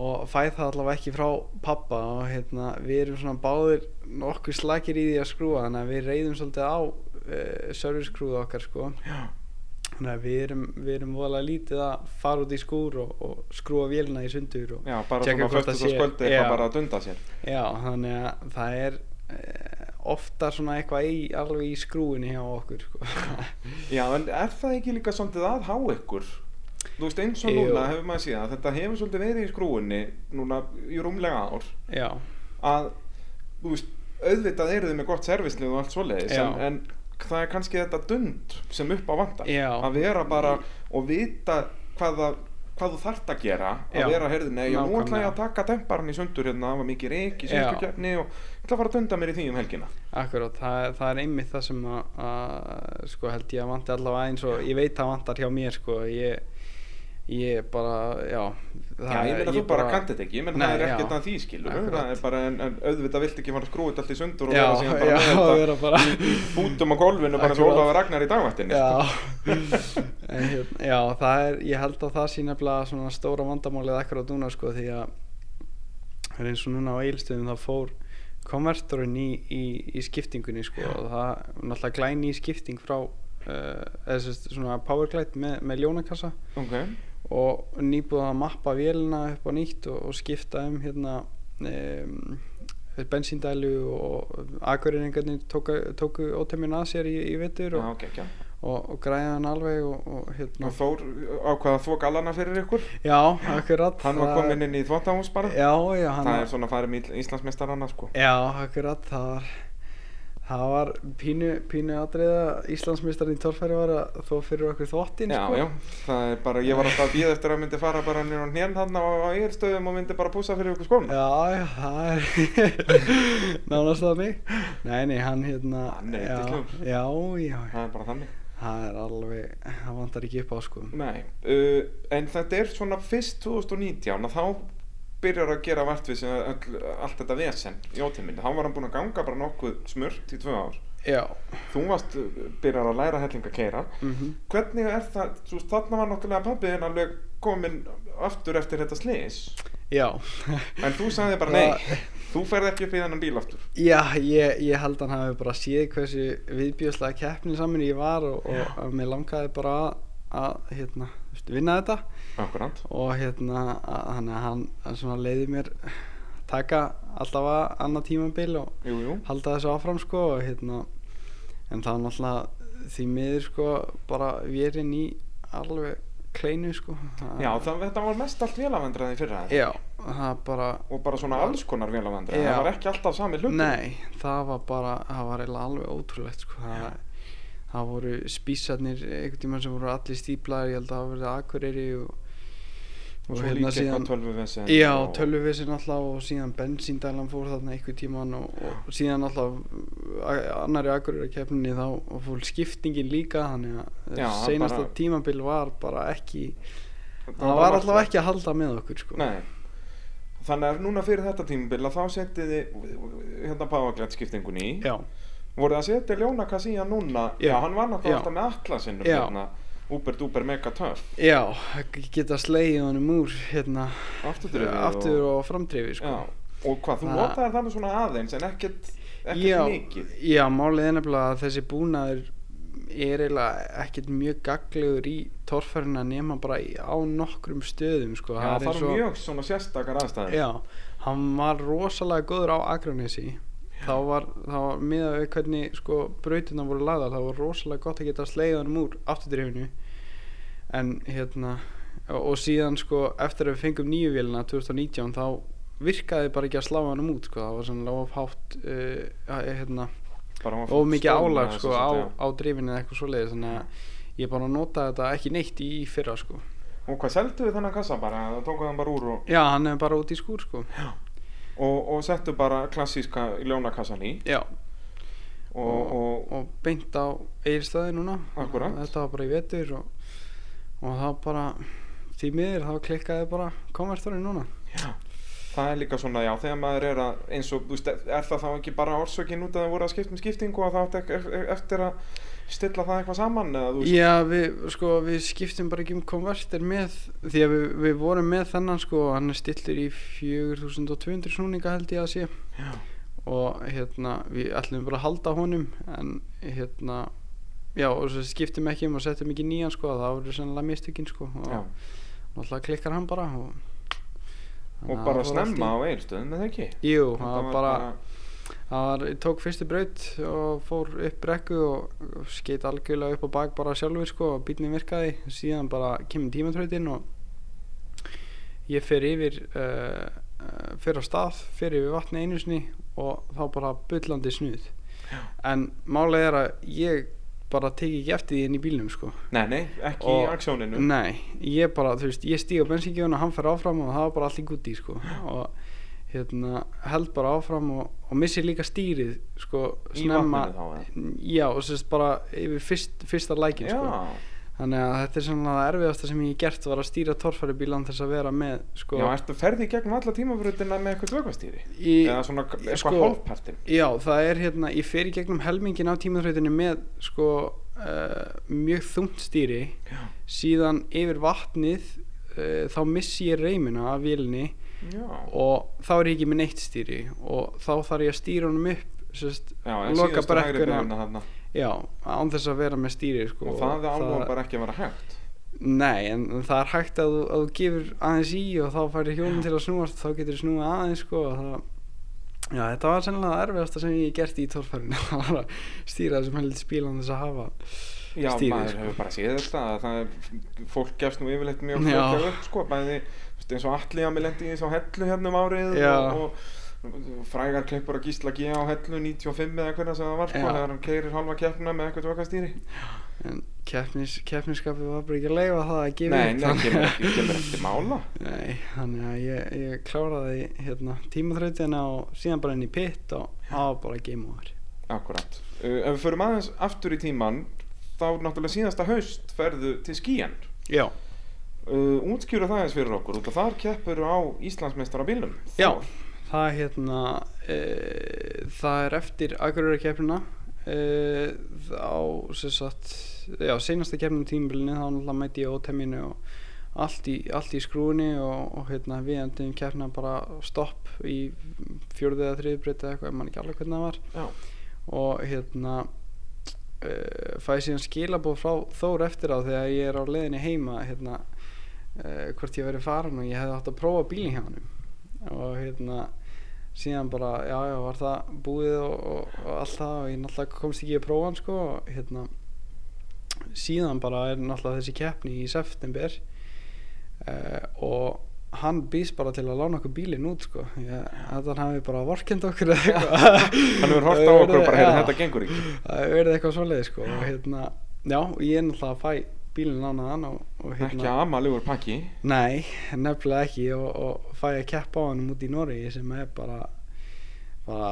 [SPEAKER 2] og fæ það allavega ekki frá pappa og hérna við erum svona báðir nokkuð slakir í því að skrúa þannig að við reyðum svolítið á uh, service-skrúðu okkar sko þannig að við erum, við erum voðalega lítið að fara út í skúr og, og skrúa vélina í sundur og,
[SPEAKER 1] Já, bara
[SPEAKER 2] Tjekka
[SPEAKER 1] svona
[SPEAKER 2] hvort
[SPEAKER 1] föstu
[SPEAKER 2] það
[SPEAKER 1] svo
[SPEAKER 2] sé-
[SPEAKER 1] skvöldi
[SPEAKER 2] já.
[SPEAKER 1] eitthvað bara að dunda sér
[SPEAKER 2] Já, þannig að það er eh, ofta svona eitthvað í, alveg í skrúinu hjá okkur sko.
[SPEAKER 1] Já, en er það ekki líka svolítið að há ykkur? Þú veist, eins og
[SPEAKER 2] Jú.
[SPEAKER 1] núna hefur maður síðan Þetta hefur svolítið verið í skrúinni núna í rúmlega ár
[SPEAKER 2] Já,
[SPEAKER 1] að þú veist, auðvitað eru þið með gott servislið og allt svoleiðis
[SPEAKER 2] Já.
[SPEAKER 1] en, en það er kannski þetta dund sem upp á vantar
[SPEAKER 2] Já.
[SPEAKER 1] að vera bara og vita hvað, það, hvað þú þart að gera að
[SPEAKER 2] Já.
[SPEAKER 1] vera, heyrðu, nei, og nú ætla ég
[SPEAKER 2] Nákvæmlega.
[SPEAKER 1] að taka temparan í sundur hérna, það var mikið reik í
[SPEAKER 2] Já.
[SPEAKER 1] sundurkjarni og ég ætla að fara að dunda mér í því um helgina
[SPEAKER 2] akkurát, það, það er einmitt það sem að, að sko held ég að vanti allavega eins og ég veit að vantar hjá mér sko, ég, ég bara, já það,
[SPEAKER 1] Já, ég meina þú bara kannt þetta ekki, ég meina
[SPEAKER 2] Nei,
[SPEAKER 1] það er
[SPEAKER 2] já.
[SPEAKER 1] ekkert að því skilur það
[SPEAKER 2] Akkurat.
[SPEAKER 1] er bara, en, en auðvitað vilt ekki fara að skrúa þetta allt í sundur og
[SPEAKER 2] Já,
[SPEAKER 1] vera síðan bara
[SPEAKER 2] já,
[SPEAKER 1] með þetta
[SPEAKER 2] vera bara-
[SPEAKER 1] í bútum á golfinu bara eins og
[SPEAKER 2] Akkurat.
[SPEAKER 1] Ólafur Ragnar í sko. dagvættinni
[SPEAKER 2] Já, en, hérna, já það er, ég held að það sé nefnilega svona stóra vandamálið akkur á dúna sko því að það er eins og núna á eilstöðum þá fór konvertorinn í, í, í skiptingunni sko og það er náttúrulega glæni í skipting frá uh, eða sem sagt svona powerglight með, með ljónakassa
[SPEAKER 1] Ok,
[SPEAKER 2] og nýbúið að mappa vélina upp á nýtt og, og skipta um hérna um, bensíndælu og akurinnengarnir tóku, tóku ótemmin að sér í, í vettur
[SPEAKER 1] já,
[SPEAKER 2] og,
[SPEAKER 1] ok, já
[SPEAKER 2] og, og græða hann alveg og, og hérna
[SPEAKER 1] Og Þór ákvaða að þvó gallana fyrir ykkur
[SPEAKER 2] já, akkurat
[SPEAKER 1] Hann var
[SPEAKER 2] það-
[SPEAKER 1] komin inn í þvóttahús bara
[SPEAKER 2] já, já, hann
[SPEAKER 1] Það er svona farið með Íslandsmeistarana sko
[SPEAKER 2] já, akkurat það var það var pínu, pínu atriða Íslandsmeistarinn í torfæri var að þó fyrir okkur þvottin
[SPEAKER 1] Já,
[SPEAKER 2] sko.
[SPEAKER 1] já, það er bara, ég var alltaf að bíða eftir að hann myndi fara bara nýr og nén hann á eilstöðum og myndi bara púsa fyrir ykkur skóna
[SPEAKER 2] já, já, það er nánast það mig nei, nei, hann hérna
[SPEAKER 1] Hann Ah, er
[SPEAKER 2] já,
[SPEAKER 1] yndislegur.
[SPEAKER 2] já, já,
[SPEAKER 1] Það er bara þannig
[SPEAKER 2] það er alveg það vantar ekki upp á sko
[SPEAKER 1] Nei, uh, en þetta er svona fyrst 2019 að þá byrjar að gera vart við sem öll, allt þetta vesen í ótíminni Þá var hann búinn að ganga bara nokkuð smurt í tvö ár
[SPEAKER 2] já,
[SPEAKER 1] Þú varst, uh, byrjar að læra helling að keira
[SPEAKER 2] mhm
[SPEAKER 1] Hvernig er það, þú veist, þarna var náttúrulega pabbi þinn alveg kominn aftur eftir þetta slis
[SPEAKER 2] já
[SPEAKER 1] En þú sagði bara nei, þú ferð ekki upp í þennan bíl aftur
[SPEAKER 2] Já, ég, ég held að hann hafi bara séð hversu viðbjöðslega keppnin saman ég var og, og að mér langaði bara að, að hérna, þú veist, vinna þetta
[SPEAKER 1] Akkurant
[SPEAKER 2] og hérna, að- þannig að hann hann svona leiði mér taka alltaf að annað tímabil og
[SPEAKER 1] Jú, jú
[SPEAKER 2] halda þessu áfram sko og hérna, en það var náttúrulega því miður sko bara vérinn í alveg kleinu sko
[SPEAKER 1] Já, það, þetta var mest allt vélavendræði fyrra eða?
[SPEAKER 2] Já, það er bara
[SPEAKER 1] og bara svona alls konar vélavandri
[SPEAKER 2] Já.
[SPEAKER 1] það var ekki alltaf sami hlutur
[SPEAKER 2] Nei, það var bara, það var eiginlega alveg ótrúlegt sko. það, það voru spísarnir einhvern tímann sem voru allir stíplaðir ég held að það hafa verið akureyri og, hérna
[SPEAKER 1] og svo líka eitthvað tölvuvesen
[SPEAKER 2] já,
[SPEAKER 1] og-
[SPEAKER 2] tölvuvisin alltaf og síðan bensíndælan fór þarna einhvern tímann og, og síðan alltaf a- annarri akureyri keppninni þá og fór skiptingin líka þannig að
[SPEAKER 1] Já, það
[SPEAKER 2] seinasta
[SPEAKER 1] bara-
[SPEAKER 2] tímabil var bara ekki
[SPEAKER 1] bara
[SPEAKER 2] það var
[SPEAKER 1] margt-
[SPEAKER 2] alltaf ekki að halda með okkur sko.
[SPEAKER 1] Nei Þannig að núna fyrir þetta tímabil að þá setið þið hérna páaglætskiptingun í
[SPEAKER 2] já,
[SPEAKER 1] voruð að setja Ljónakas í hann núna
[SPEAKER 2] Já.
[SPEAKER 1] já, hann var náttúrulega
[SPEAKER 2] Já.
[SPEAKER 1] alltaf með allasinum
[SPEAKER 2] Já.
[SPEAKER 1] hérna, úper dúper mega töff
[SPEAKER 2] já, geta slegið honum úr hérna
[SPEAKER 1] aftur
[SPEAKER 2] aftur og framdrifi sko.
[SPEAKER 1] Já, og hvað, þú
[SPEAKER 2] Það-
[SPEAKER 1] notaðir það með svona aðeins en ekkert, ekkert
[SPEAKER 2] já,
[SPEAKER 1] mikið
[SPEAKER 2] já, málið er nefnilega að þessi búnaður er eiginlega ekkert mjög gaglegur í torfæruna nema bara í, á nokkrum stöðum sko.
[SPEAKER 1] Já, það
[SPEAKER 2] eins
[SPEAKER 1] eru
[SPEAKER 2] og-
[SPEAKER 1] mjög svona sérstakar aðstæður
[SPEAKER 2] já, hann var rosalega góður á Akranesi þá var, þá var miðað við hvernig sko, brautina voru lagðar þá var rosalega gott að geta slegið hann úr afturdrifinu en hérna og, og síðan sko eftir að við fengum nýju vélina 2019 þá virkaði bara ekki að slá hann út sko, það var svona lofhátt uh, hérna
[SPEAKER 1] Bara var
[SPEAKER 2] og mikið
[SPEAKER 1] stórna
[SPEAKER 2] álag
[SPEAKER 1] þessu
[SPEAKER 2] sko, á,
[SPEAKER 1] svolítið,
[SPEAKER 2] á drifinu eða eitthvað svoleiðis þannig að ég bara notaði þetta ekki neitt í fyrra sko.
[SPEAKER 1] já. Og hvað, seldu við þennan kassa bara, tókuð hann bara úr og,
[SPEAKER 2] já, hann er bara út í skúr sko.
[SPEAKER 1] og, og settu bara klassíska Ljónakassan í
[SPEAKER 2] já,
[SPEAKER 1] og, og,
[SPEAKER 2] og beint á eiginstöði núna
[SPEAKER 1] Akkúrat.
[SPEAKER 2] þetta var bara í vetur og, og það bara því miður þá klikkaði bara konvertorinn núna
[SPEAKER 1] Það er líka svona, já, þegar maður er að, eins og, þú veist, er það þá ekki bara orsökin út að það voru að skipta um skiptingu og það átti ek- eftir að stilla það eitthvað saman eða, þú veist,
[SPEAKER 2] já, við, sko, við skiptum bara ekki um konvertir með því að við, við vorum með þennan sko, hann er stilltur í 4200 snúninga held ég að sé
[SPEAKER 1] já,
[SPEAKER 2] og hérna við ætlum bara að halda honum en hérna já og svo skiptum ekki um og settum ekki nýjan sko það voru sennilega mistökin sko og
[SPEAKER 1] já.
[SPEAKER 2] náttúrulega klikkar hann bara og, þannig
[SPEAKER 1] og
[SPEAKER 2] að
[SPEAKER 1] bara
[SPEAKER 2] það fór allt
[SPEAKER 1] snemma
[SPEAKER 2] í-
[SPEAKER 1] á eilstöðum, eða ekki?
[SPEAKER 2] jú
[SPEAKER 1] Þetta
[SPEAKER 2] það var bara það var, ég tók fyrstu braut og fór upp brekku og og skeit algjörlega upp á bak bara sjálfur sko og bílni virkaði síðan bara kemur tímatrautin og ég fer yfir uh, fyrir á stað, fer yfir vatni einu sinni og þá bara bullandi snuð en málega er að ég bara teki ekki eftir því inn í bílnum sko
[SPEAKER 1] Nei, nei, ekki
[SPEAKER 2] Og-
[SPEAKER 1] í aksjóninu
[SPEAKER 2] nei, ég bara, þú veist, ég stíg á bensíngjöfun og hann fer áfram og það var bara allt í gutti sko og hérna held bara áfram og, og missi líka stýrið sko
[SPEAKER 1] Í
[SPEAKER 2] snemma
[SPEAKER 1] vatninu þá,
[SPEAKER 2] já, og sérst bara yfir fyrst, fyrsta lækin
[SPEAKER 1] Já,
[SPEAKER 2] sko Þannig að þetta er svona það erfiðasta sem ég hef gert var að stýra torfæribílan þess að vera með sko,
[SPEAKER 1] já, ertu ferði í gegnum alla tímafrutina með eitthvað vökkvastýri?
[SPEAKER 2] í,
[SPEAKER 1] Eða svona k- eitthvað
[SPEAKER 2] sko-
[SPEAKER 1] sko, hálfpartin
[SPEAKER 2] já, það er hérna ég fer í gegnum helmingin á tímaþrautinu með sko uh, mjög þungt stýri
[SPEAKER 1] Já,
[SPEAKER 2] síðan yfir vatnið uh, þá missi ég reymina af vélni
[SPEAKER 1] já,
[SPEAKER 2] og þá er ég ekki með neitt stýri og þá þarf ég að stýra honum upp sérst,
[SPEAKER 1] já en
[SPEAKER 2] loka
[SPEAKER 1] síðustu hægri
[SPEAKER 2] brekkuna.
[SPEAKER 1] beygðuna þarna.
[SPEAKER 2] já, án þess að vera með stýri sko,
[SPEAKER 1] Og það álum bara ekki að vera hægt
[SPEAKER 2] Nei, en það er hægt að þú, að þú gefur aðeins í og þá færir hjólinn til að snúast þá getur þú snúið aðeins sko og það, Já, þetta var sennilega það erfiðasta sem ég hef gert í torfærinu það var að stýra þessum heldur spílan þess að hafa
[SPEAKER 1] Já,
[SPEAKER 2] Stýrið,
[SPEAKER 1] maður
[SPEAKER 2] sko.
[SPEAKER 1] hefur bara séð þetta að það er, fólk gefst nú yfirleitt mjög
[SPEAKER 2] Já.
[SPEAKER 1] flókja upp sko, bæði þú veist, eins og allir að mér lendi eins á hellu hérna um árið
[SPEAKER 2] Já.
[SPEAKER 1] og, og frægar klippur að gísla G á hellu 95 eða hvernig sem það var sko,
[SPEAKER 2] Já.
[SPEAKER 1] þegar hann keirir halva keppna með eitthvað vökkvastýri
[SPEAKER 2] en keppnis, keppniskapi var bara ekki að leifa það að gefa
[SPEAKER 1] Nei,
[SPEAKER 2] upp,
[SPEAKER 1] nei,
[SPEAKER 2] þannig-
[SPEAKER 1] kemur ekki, kemur ekki til mála
[SPEAKER 2] Nei, þannig að ég, ég kláraði hérna, tímaþrautina og síðan bara inn í pitt og það var bara game over
[SPEAKER 1] Akkurat. Uh, ef við förum aðeins aftur í tíman, þá náttúrulega síðasta haust ferðu til skíjan.
[SPEAKER 2] Já,
[SPEAKER 1] Uh, útskjúra það eins fyrir okkur, út af þar keppur á Íslandsmeistar á bílum.
[SPEAKER 2] Já, það er hérna e, það er eftir Akureyra keppnina e, á sem sagt, já, senasta keppnum tímabilinu þá náttúrulega mæti ég á óteminu og allt í, allt í skrúni og, og hérna við endum keppna bara stopp í fjórðið eða þriðið breytið eitthvað, ég man ekki alveg hvernig það var
[SPEAKER 1] Já.
[SPEAKER 2] og hérna uh, fæ síðan skilabóð frá Þór eftir á þegar ég er á leiðinni heima hérna, uh, hvort ég verið farin og ég hefði átt að prófa bílinn hjá hann og hérna síðan bara, já, já, var það búið og, og, og allt það og ég náttúrulega komst ekki að prófa hann sko og hérna síðan bara er náttúrulega þessi keppni í september uh, og hann býst bara til að lána okkur bílinn út sko. ég, þetta hafi bara vorkend okkur eða eitthvað
[SPEAKER 1] Hann hefur hort á
[SPEAKER 2] Það
[SPEAKER 1] okkur og bara,
[SPEAKER 2] verið- já,
[SPEAKER 1] heyrðu, þetta gengur ekki.
[SPEAKER 2] það hefur verið eitthvað svoleiði sko. og hérna, já, ég er náttúrulega að fæ bílinn lánaðan og, og
[SPEAKER 1] Ekki
[SPEAKER 2] hérna
[SPEAKER 1] amalugur pakki.
[SPEAKER 2] Nei, nefnilega ekki og, og fæ að keppa á hann út í Noregi sem er bara, bara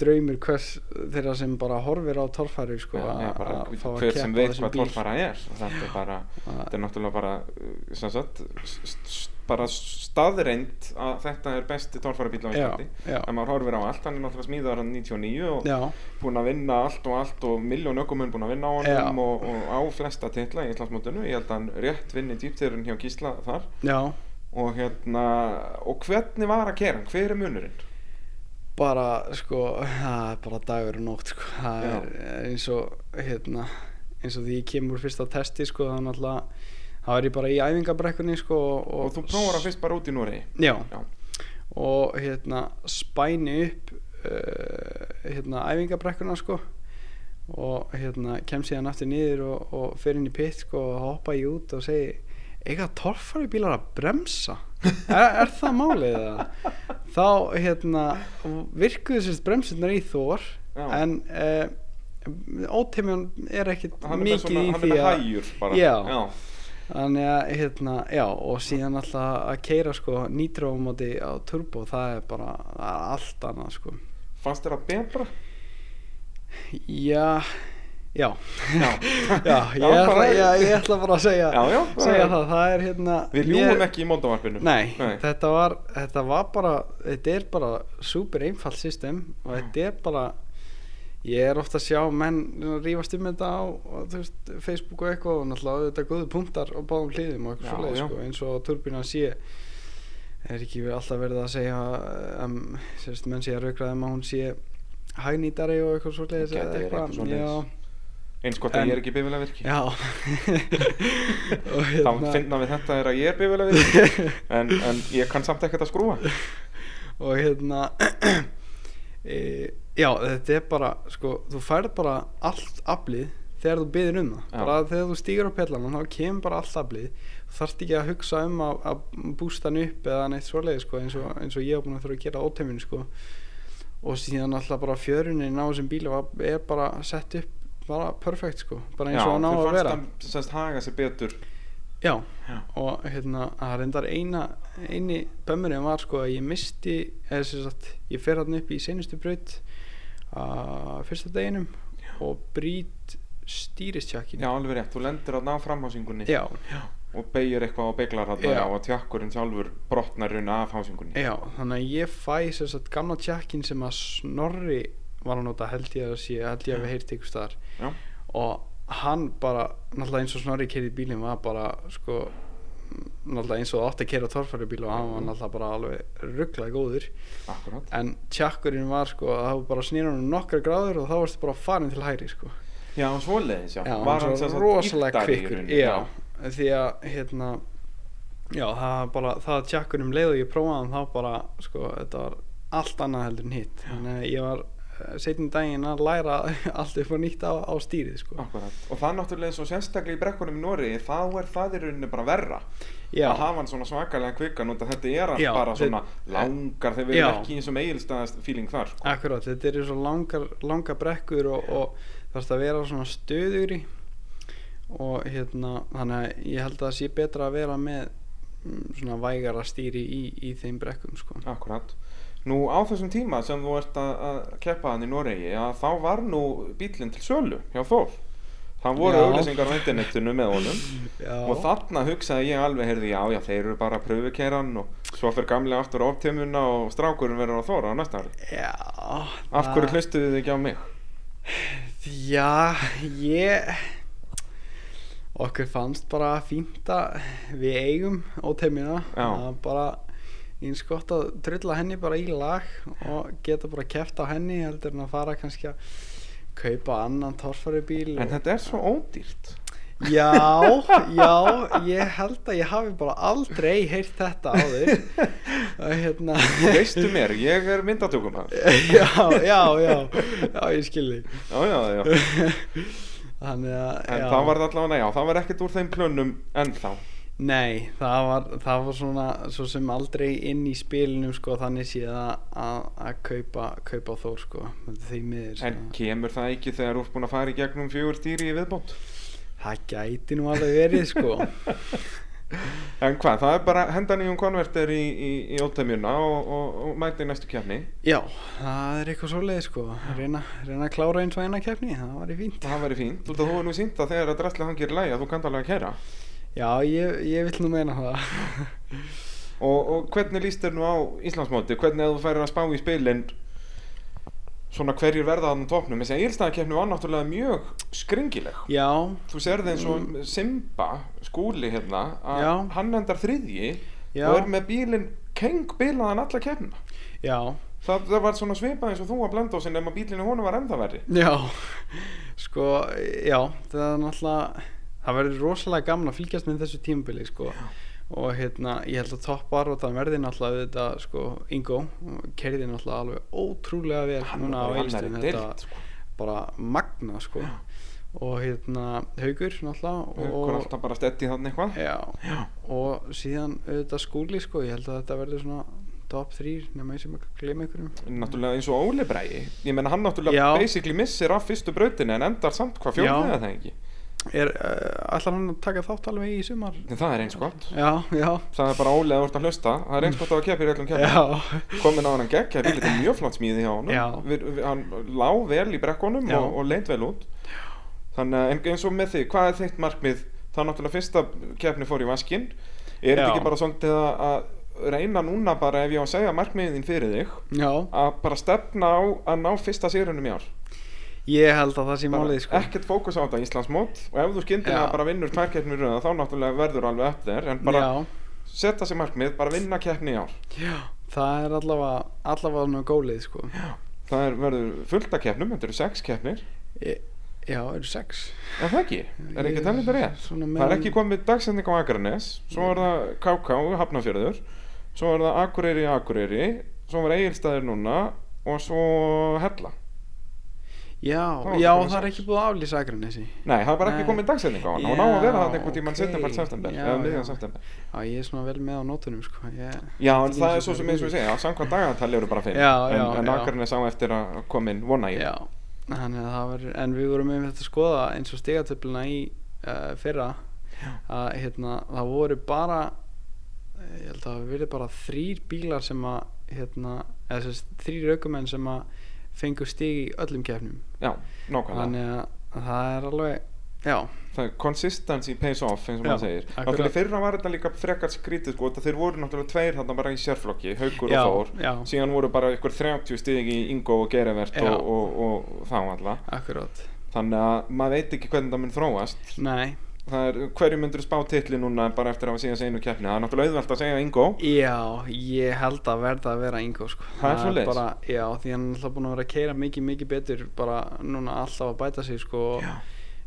[SPEAKER 2] draumur hvers þeirra sem bara horfir á torfæri sko,
[SPEAKER 1] Já, já, bara,
[SPEAKER 2] að fá að
[SPEAKER 1] hver
[SPEAKER 2] keppa
[SPEAKER 1] sem
[SPEAKER 2] á
[SPEAKER 1] veit
[SPEAKER 2] þessum
[SPEAKER 1] hvað
[SPEAKER 2] bíl.
[SPEAKER 1] torfara er þetta er bara, þetta er náttúrulega bara uh, sem sagt st- st- bara staðreind að þetta er besti torfara á
[SPEAKER 2] Já,
[SPEAKER 1] Íslandi
[SPEAKER 2] já.
[SPEAKER 1] en maður horfir á allt, hann er náttúrulega smíðar hann 99 og
[SPEAKER 2] Já,
[SPEAKER 1] búin að vinna allt og allt og miljón ökumenn búin að vinna á honum
[SPEAKER 2] Já.
[SPEAKER 1] og, og á flesta titla í Íslandsmótinu ég held að hann rétt vinni dýptirun hjá Gísla þar
[SPEAKER 2] já
[SPEAKER 1] og hérna, og hvernig var að gera hann, hver er munurinn?
[SPEAKER 2] bara sko það er bara dagur og nótt sko það
[SPEAKER 1] Já.
[SPEAKER 2] er eins og hérna eins og því ég kemur fyrst að testi sko það er náttúrulega þá er ég bara í æfingabrekkunni sko og,
[SPEAKER 1] Og, þú prófar að fyrst bara út í Noregi
[SPEAKER 2] já,
[SPEAKER 1] Já,
[SPEAKER 2] og hérna spæni upp uh, hérna æfingabrekkuna sko og hérna kem síðan aftur niður og, og fer inn í pitt sko og hoppa ég út og segi eiga torfari bílar að bremsa er, er það málið það þá hérna virkuðu sérst bremsunar í þór
[SPEAKER 1] Já.
[SPEAKER 2] en uh, óteimjan er ekkit
[SPEAKER 1] hann er með,
[SPEAKER 2] mikið
[SPEAKER 1] svona,
[SPEAKER 2] í
[SPEAKER 1] hann er
[SPEAKER 2] því
[SPEAKER 1] með
[SPEAKER 2] að
[SPEAKER 1] hægjur bara
[SPEAKER 2] Já.
[SPEAKER 1] Já.
[SPEAKER 2] Þannig að, hérna, já, og síðan alltaf að keira, sko, nýtrófumóti á turbo, það er bara, það er allt annað, sko.
[SPEAKER 1] fannst þér að betra?
[SPEAKER 2] Já, já,
[SPEAKER 1] Já,
[SPEAKER 2] já, ég,
[SPEAKER 1] Já,
[SPEAKER 2] ætla,
[SPEAKER 1] bara-
[SPEAKER 2] já ég ætla bara að segja,
[SPEAKER 1] Já, já,
[SPEAKER 2] segja
[SPEAKER 1] bara-
[SPEAKER 2] það, það er, hérna,
[SPEAKER 1] Við ljúum ekki í mótavarpinu
[SPEAKER 2] Nei, þetta var, þetta var bara, þetta er bara super einfalt system og þetta er bara, ég er ofta að sjá menn rífast um þetta á á, þú veist, Facebook og eitthvað og náttúrulega þetta góðu punktar og báðum hliðum og
[SPEAKER 1] Já,
[SPEAKER 2] eitthvað svoleið
[SPEAKER 1] já.
[SPEAKER 2] sko, eins og turbina sé er ekki við alltaf verið að segja um, sérst, menn sé að raukraða um að hún sé hægnýtari og eitthvað svoleiðis
[SPEAKER 1] Gæti
[SPEAKER 2] eða
[SPEAKER 1] verið eitthvað svoleiðis.
[SPEAKER 2] já,
[SPEAKER 1] Eins gott að
[SPEAKER 2] En-
[SPEAKER 1] ég er ekki bifilega virki
[SPEAKER 2] já. Og hérna-
[SPEAKER 1] Þá finna við þetta er að ég er bifilega virki en, en ég kann samt ekkert að skrúa
[SPEAKER 2] og hérna e, já þetta er bara sko, þú færð bara allt aflið þegar þú byðir um það
[SPEAKER 1] Já.
[SPEAKER 2] bara þegar þú stígur á pellanum þá kemur bara allt aflið þú þarft ekki að hugsa um að, að bústa hann upp eða neitt svoleiði sko, eins, og, eins og ég hef búin að þurfa að gera óteiminu sko. og síðan alltaf bara fjörunin á þessum bíl var- er bara sett upp bara perfekt sko, bara eins og hann á að vera
[SPEAKER 1] Þú fannst að semst haga sér betur
[SPEAKER 2] já
[SPEAKER 1] Já,
[SPEAKER 2] og hérna að reyndar eina eini bömmurinn var sko að ég misti eða sem sagt ég fer hann upp í seinustu braut að fyrsta deginum og brýt stýristjakkin
[SPEAKER 1] já alveg rétt, þú lendir að ná framhásingunni
[SPEAKER 2] já,
[SPEAKER 1] og beigir eitthvað á beiglar hann
[SPEAKER 2] Já.
[SPEAKER 1] og tjakkurinn sjálfur brotnar raun af hásingunni
[SPEAKER 2] já, þannig að ég fæ sem sagt gamla tjakkin sem að snorri var að nota held ég að sé held ég að við heyrti ykkur staðar
[SPEAKER 1] Já,
[SPEAKER 2] og hann bara náttúrulega eins og Snorri kerði bílinn var bara sko náttúrulega eins og það átti að kera torfæri bíl og hann
[SPEAKER 1] Mm.
[SPEAKER 2] var náttúrulega bara alveg rugglega góður
[SPEAKER 1] akkurat
[SPEAKER 2] en tjakkurinn var sko að það var bara snýra hann nokkra gráður og þá varstu bara farin til hæri sko
[SPEAKER 1] Já, svoleiðis, já,
[SPEAKER 2] já,
[SPEAKER 1] Var hann
[SPEAKER 2] svo
[SPEAKER 1] sem sagt
[SPEAKER 2] rosalega
[SPEAKER 1] ýktari í
[SPEAKER 2] kvikkur
[SPEAKER 1] rauninni,
[SPEAKER 2] já, því að hérna já það var bara það að tjakkurinn um leið og ég prófaði hann þá bara sko þetta var allt annað heldur en hitt þannig að ég var setjum daginn að læra allt upp og nýtt á, á stýrið sko
[SPEAKER 1] Akkurat. Og það er náttúrulega svo sérstaklega í brekkunum í Nóri þá er það í rauninni bara verra
[SPEAKER 2] Já.
[SPEAKER 1] að hafa hann svona svakalega kvikan og þetta er
[SPEAKER 2] Já,
[SPEAKER 1] bara
[SPEAKER 2] þe-
[SPEAKER 1] svona langar þegar við
[SPEAKER 2] Já.
[SPEAKER 1] erum ekki eins og eigilstaðast feeling þar sko.
[SPEAKER 2] Akkurát, þetta eru svo langar, langar brekkur og, og þarfst að vera svona stöðugri og hérna, þannig að ég held að það sé betra að vera með mm, svona vægara stýri í, í þeim brekkum sko.
[SPEAKER 1] Akkurat Nú á þessum tíma sem þú ert að, að keppa hann í Noregi að þá var nú bílinn til sölu hjá Þór Það voru
[SPEAKER 2] Já.
[SPEAKER 1] auðlýsingar á internetinu með honum
[SPEAKER 2] Já,
[SPEAKER 1] og þarna hugsaði ég alveg heyrði já já þeir eru bara að pröfukeran og svo fyrir gamlega aftur á optimuna og strákurinn verður á Þóra á næsta ári
[SPEAKER 2] já
[SPEAKER 1] Af
[SPEAKER 2] það-
[SPEAKER 1] hverju hlustuðu þið ekki á mig?
[SPEAKER 2] Já, ég okkur fannst bara fínt að við eigum óteimina
[SPEAKER 1] Já.
[SPEAKER 2] að bara eins gott að trulla henni bara í lag og geta bara keft á henni heldur en að fara kannski að kaupa annan torfari bíl
[SPEAKER 1] En þetta er svo ódýrt
[SPEAKER 2] Já, já, ég held að ég hafi bara aldrei heyrt þetta áður og hérna
[SPEAKER 1] Veistu mér, ég er myndatökum að
[SPEAKER 2] Já, já, já, já, ég skilji
[SPEAKER 1] Já, já, já
[SPEAKER 2] Þannig að
[SPEAKER 1] En
[SPEAKER 2] já.
[SPEAKER 1] það var allavega, já, það var ekkert úr þeim plönum ennþá
[SPEAKER 2] Nei, það var, það var svona svo sem aldrei inn í spilinum sko, þannig séð að, að, að kaupa, kaupa Þór sko, því miður sko.
[SPEAKER 1] En kemur það ekki þegar þú ert búin að fara í gegnum fjögur dýri í viðbót?
[SPEAKER 2] það gæti nú alveg verið sko
[SPEAKER 1] En hvað, það er bara að henda nýjum konverter í, í, í ótemjuna og, og, og mæta í næstu kjarni
[SPEAKER 2] Já, það er eitthvað svoleið sko reyna, reyna að klára eins og eina keppni það var í fínt
[SPEAKER 1] Það væri fínt, þú veist að þú er nú sínt að þegar að drastlega hann gerir læg að þú kannt alveg að kæra
[SPEAKER 2] Já, ég, ég vill nú meina það
[SPEAKER 1] og, og hvernig líst þér nú á Íslandsmóti, hvernig að þú færir að spá í spilin svona hverjir verða þannig tóknum, þessi eilstaðakeppni var náttúrulega mjög skringileg
[SPEAKER 2] Já,
[SPEAKER 1] þú sér þeim svo Simba skúli hérna, að
[SPEAKER 2] Já.
[SPEAKER 1] hann endar þriðji
[SPEAKER 2] Já.
[SPEAKER 1] og er með bílinn kengbilaðan alla keppna
[SPEAKER 2] já
[SPEAKER 1] það, það var svona svipað eins og þú að blenda á sinni nema bílinni honum var enda verri
[SPEAKER 2] Já, sko, já, það er náttúrulega, það verður rosalega gaman að fylgjast með þessu tímabili, sko. Og hérna, ég held að toppar og það verði náttúrulega þetta, sko, Ingo, kerði náttúrulega alveg ótrúlega vel
[SPEAKER 1] Hann
[SPEAKER 2] núna á
[SPEAKER 1] var bara í
[SPEAKER 2] Egilsstöðum,
[SPEAKER 1] annarri
[SPEAKER 2] þetta
[SPEAKER 1] deild, sko.
[SPEAKER 2] bara magna, sko. Og hérna, haugur náttúrulega.
[SPEAKER 1] og
[SPEAKER 2] og-
[SPEAKER 1] hann alltaf bara stetti þannig eitthvað
[SPEAKER 2] Já, og síðan auðvitað skúli, sko, ég held að þetta verður svona top 3, nema ég sem að gleyma einhverjum.
[SPEAKER 1] náttúrulega eins og Óli Bræi ég menna hann náttúrulega
[SPEAKER 2] Já.
[SPEAKER 1] basically missir af fyrstu brautinu en endar samt hvað
[SPEAKER 2] Já.
[SPEAKER 1] fjórðið að það ekki
[SPEAKER 2] Er, uh, ætlar hann að taka þátt alveg í sumar?
[SPEAKER 1] en það er eins gott
[SPEAKER 2] Já, já,
[SPEAKER 1] það er bara Óli að þú ert að hlusta það er eins gott að það keppir öllum keppir
[SPEAKER 2] já,
[SPEAKER 1] komin á hann gegg, það er lítið mjög flott smíði hjá
[SPEAKER 2] Já.
[SPEAKER 1] honum við, við, hann lá vel í brekkunum
[SPEAKER 2] Já.
[SPEAKER 1] og, og leit vel út þannig að en- eins og með þig, hvað er þitt markmið þá náttúrulega fyrsta keppni fór í vaskinn er þetta
[SPEAKER 2] Já.
[SPEAKER 1] ekki bara svolítið að- að reyna núna bara ef ég á að segja markmiðin þín fyrir þig
[SPEAKER 2] já,
[SPEAKER 1] að bara stefna á að ná fyrsta sérunum í ár
[SPEAKER 2] ég held að það sé
[SPEAKER 1] bara
[SPEAKER 2] málið sko
[SPEAKER 1] ekkert fókus á þetta Íslandsmót og ef þú skyndilega
[SPEAKER 2] Já.
[SPEAKER 1] bara vinnur tvær keppnir í röð, þá náttúrulega verður alveg upp þér en bara
[SPEAKER 2] já,
[SPEAKER 1] setja sér markmið, bara vinna keppni í ár
[SPEAKER 2] já, það er allavega allavega svona gólið sko Já,
[SPEAKER 1] það er, verður fullt af keppnum, þetta eru sex keppnir
[SPEAKER 2] e, já eru sex
[SPEAKER 1] en það ekki, er
[SPEAKER 2] Ég-
[SPEAKER 1] ekki talið þetta rétt
[SPEAKER 2] svona
[SPEAKER 1] það er
[SPEAKER 2] meðan-
[SPEAKER 1] ekki komið dagsending á Akranes svo er það KK, Hafnafjörður svo er það Akureyri, Akureyri svo var Egilstaðir núna og svo Hella
[SPEAKER 2] Já,
[SPEAKER 1] Þá er
[SPEAKER 2] já,
[SPEAKER 1] komið
[SPEAKER 2] það er
[SPEAKER 1] sex.
[SPEAKER 2] ekki búið að aflýsa Akranesi
[SPEAKER 1] nei, það er bara ekki
[SPEAKER 2] Nei.
[SPEAKER 1] komið dagsending á hann hún á
[SPEAKER 2] Já,
[SPEAKER 1] að vera það einhvern tímann
[SPEAKER 2] ok.
[SPEAKER 1] setjum bara september
[SPEAKER 2] Já,
[SPEAKER 1] eða
[SPEAKER 2] já.
[SPEAKER 1] miðjan september
[SPEAKER 2] Já, ég er svona vel með á nótunum sko ég, ég
[SPEAKER 1] Já, en
[SPEAKER 2] veit
[SPEAKER 1] það
[SPEAKER 2] ekki
[SPEAKER 1] er svo sem eins og ég
[SPEAKER 2] verður.
[SPEAKER 1] segja, samkvæmt dagatali eru bara fimm
[SPEAKER 2] Já, já,
[SPEAKER 1] En, en
[SPEAKER 2] já.
[SPEAKER 1] Akranes á eftir að koma inn, vona ég
[SPEAKER 2] Já, þannig að það verður en við vorum með þetta að skoða eins og stigatöfluna í uh, fyrra að hérna, það voru bara eh, ég held að það verið bara þrýr bílar sem að hérna, eða þess þrýr aukumenn sem að fengu stig í öllum kefnum
[SPEAKER 1] Já, nákvæmlega
[SPEAKER 2] þannig að það er alveg já,
[SPEAKER 1] það er consistency pays off eins og
[SPEAKER 2] Já,
[SPEAKER 1] maður segir
[SPEAKER 2] akkurat.
[SPEAKER 1] náttúrulega í fyrra var þetta líka frekar skrítið sko, þetta þeir voru náttúrulega tveir þarna bara í sérflokki haugur
[SPEAKER 2] Já,
[SPEAKER 1] og þór,
[SPEAKER 2] já.
[SPEAKER 1] síðan voru bara ykkur 30 stig í Ingo og Gerevert
[SPEAKER 2] Já.
[SPEAKER 1] og, og, og, þá alla
[SPEAKER 2] akkurát
[SPEAKER 1] þannig að maður veit ekki hvernig það mun þróast
[SPEAKER 2] nei,
[SPEAKER 1] það er hverju myndur spá titli núna bara eftir að hafa síðan einu keppni það er náttúrulega auðvelt að segja Ingo
[SPEAKER 2] já, ég held að verða að vera Ingo sko.
[SPEAKER 1] Það er svoleiðis?
[SPEAKER 2] bara, já, því hann er alltaf búin að vera að keira mikið, mikið betur bara núna alltaf að bæta sig sko, og
[SPEAKER 1] Já.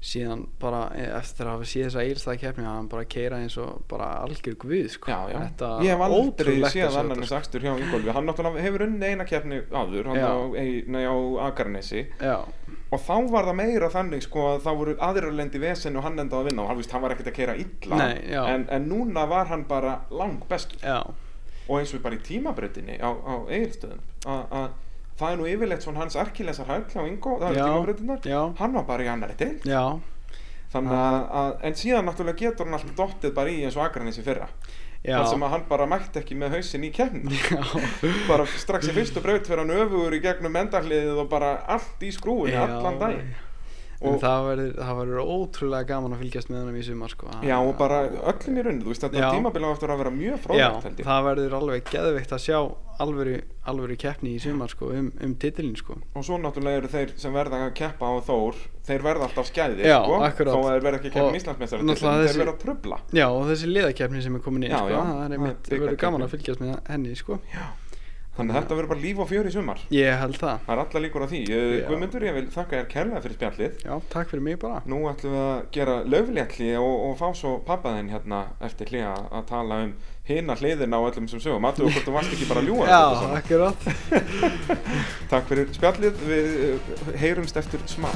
[SPEAKER 2] síðan bara eh, eftir að hafa síð þessa eilstæða keppni að hann bara keira eins og bara algjör guð sko.
[SPEAKER 1] Já, já,
[SPEAKER 2] þetta
[SPEAKER 1] ég hef aldrei
[SPEAKER 2] ótrúlegt að
[SPEAKER 1] séð
[SPEAKER 2] sjá
[SPEAKER 1] annan
[SPEAKER 2] þetta, sko.
[SPEAKER 1] eins akstur hjá Ingólfi hann náttúrulega hefur unni eina keppni áður hann
[SPEAKER 2] Já.
[SPEAKER 1] á, ei- nei, á Akarnesi
[SPEAKER 2] sko. já,
[SPEAKER 1] og þá var það meira þannig sko að þá voru aðrir að lenda í vesen og hann endaði að vinna og hann, víst, hann var ekkert að keira illa
[SPEAKER 2] Nei, já.
[SPEAKER 1] en, en núna var hann bara lang bestur
[SPEAKER 2] já,
[SPEAKER 1] og eins og bara í tímabröðinni á, á eigilstöðum að það er nú yfirleitt svona hans arkilesar hæll á Ingo, það eru
[SPEAKER 2] Já, já.
[SPEAKER 1] tímabröðinnar hann var bara í annari til
[SPEAKER 2] já
[SPEAKER 1] þannig að, að, en síðan náttúrulega getur hann alltaf dottið bara í eins og Akarnesi fyrra
[SPEAKER 2] Já.
[SPEAKER 1] þar sem að hann bara mætti ekki með hausinn í keppni
[SPEAKER 2] já,
[SPEAKER 1] bara strax í fyrstu braut fyrir hann öfugur í gegnum endarliðið og bara allt í skrúinu
[SPEAKER 2] Já.
[SPEAKER 1] allan daginn
[SPEAKER 2] En
[SPEAKER 1] og,
[SPEAKER 2] það verður, það verður ótrúlega gaman að fylgjast með honum í sumar sko.
[SPEAKER 1] já, og bara öllum í rauninu þú veist
[SPEAKER 2] Já.
[SPEAKER 1] þetta tímabil á eftir að vera mjög
[SPEAKER 2] Já,
[SPEAKER 1] fróðvægt held ég
[SPEAKER 2] það verður alveg geðveikt að sjá alvöru, alvöru keppni í sumar sko, um, um titilin sko.
[SPEAKER 1] og svo náttúrulega eru þeir sem verða að keppa á Þór þeir verða alltaf skæðir
[SPEAKER 2] Já,
[SPEAKER 1] sko,
[SPEAKER 2] akkurat.
[SPEAKER 1] þó að þeir verða ekki að
[SPEAKER 2] Og
[SPEAKER 1] keppa í Íslandsmeistar
[SPEAKER 2] náttúrulega
[SPEAKER 1] þeir
[SPEAKER 2] þessi-
[SPEAKER 1] verða að trubla
[SPEAKER 2] Já, og þessi liðakeppni sem er komin í
[SPEAKER 1] Já,
[SPEAKER 2] sko,
[SPEAKER 1] já.
[SPEAKER 2] það er einmitt,
[SPEAKER 1] Það er
[SPEAKER 2] verður gaman
[SPEAKER 1] bikarkeppni.
[SPEAKER 2] að fylgjast með henni sko.
[SPEAKER 1] þannig að þetta verður bara líf og fjör í sumar
[SPEAKER 2] Ég held það
[SPEAKER 1] það er alla líkur á því
[SPEAKER 2] Já.
[SPEAKER 1] Eh, Guðmundur, ég vil þakka þér kærlega fyrir spjallið
[SPEAKER 2] Já, takk fyrir mig bara
[SPEAKER 1] Nú ætlum við að gera löflétli og, og fá svo pappaðinn hérna eftir hlýja að tala um hina hliðina og öllum sem sögum. Aðtöðu hvort þú varst ekki bara að ljúa
[SPEAKER 2] Já, akkurat
[SPEAKER 1] Takk fyrir spjallið, við eh, heyrumst eftir smá.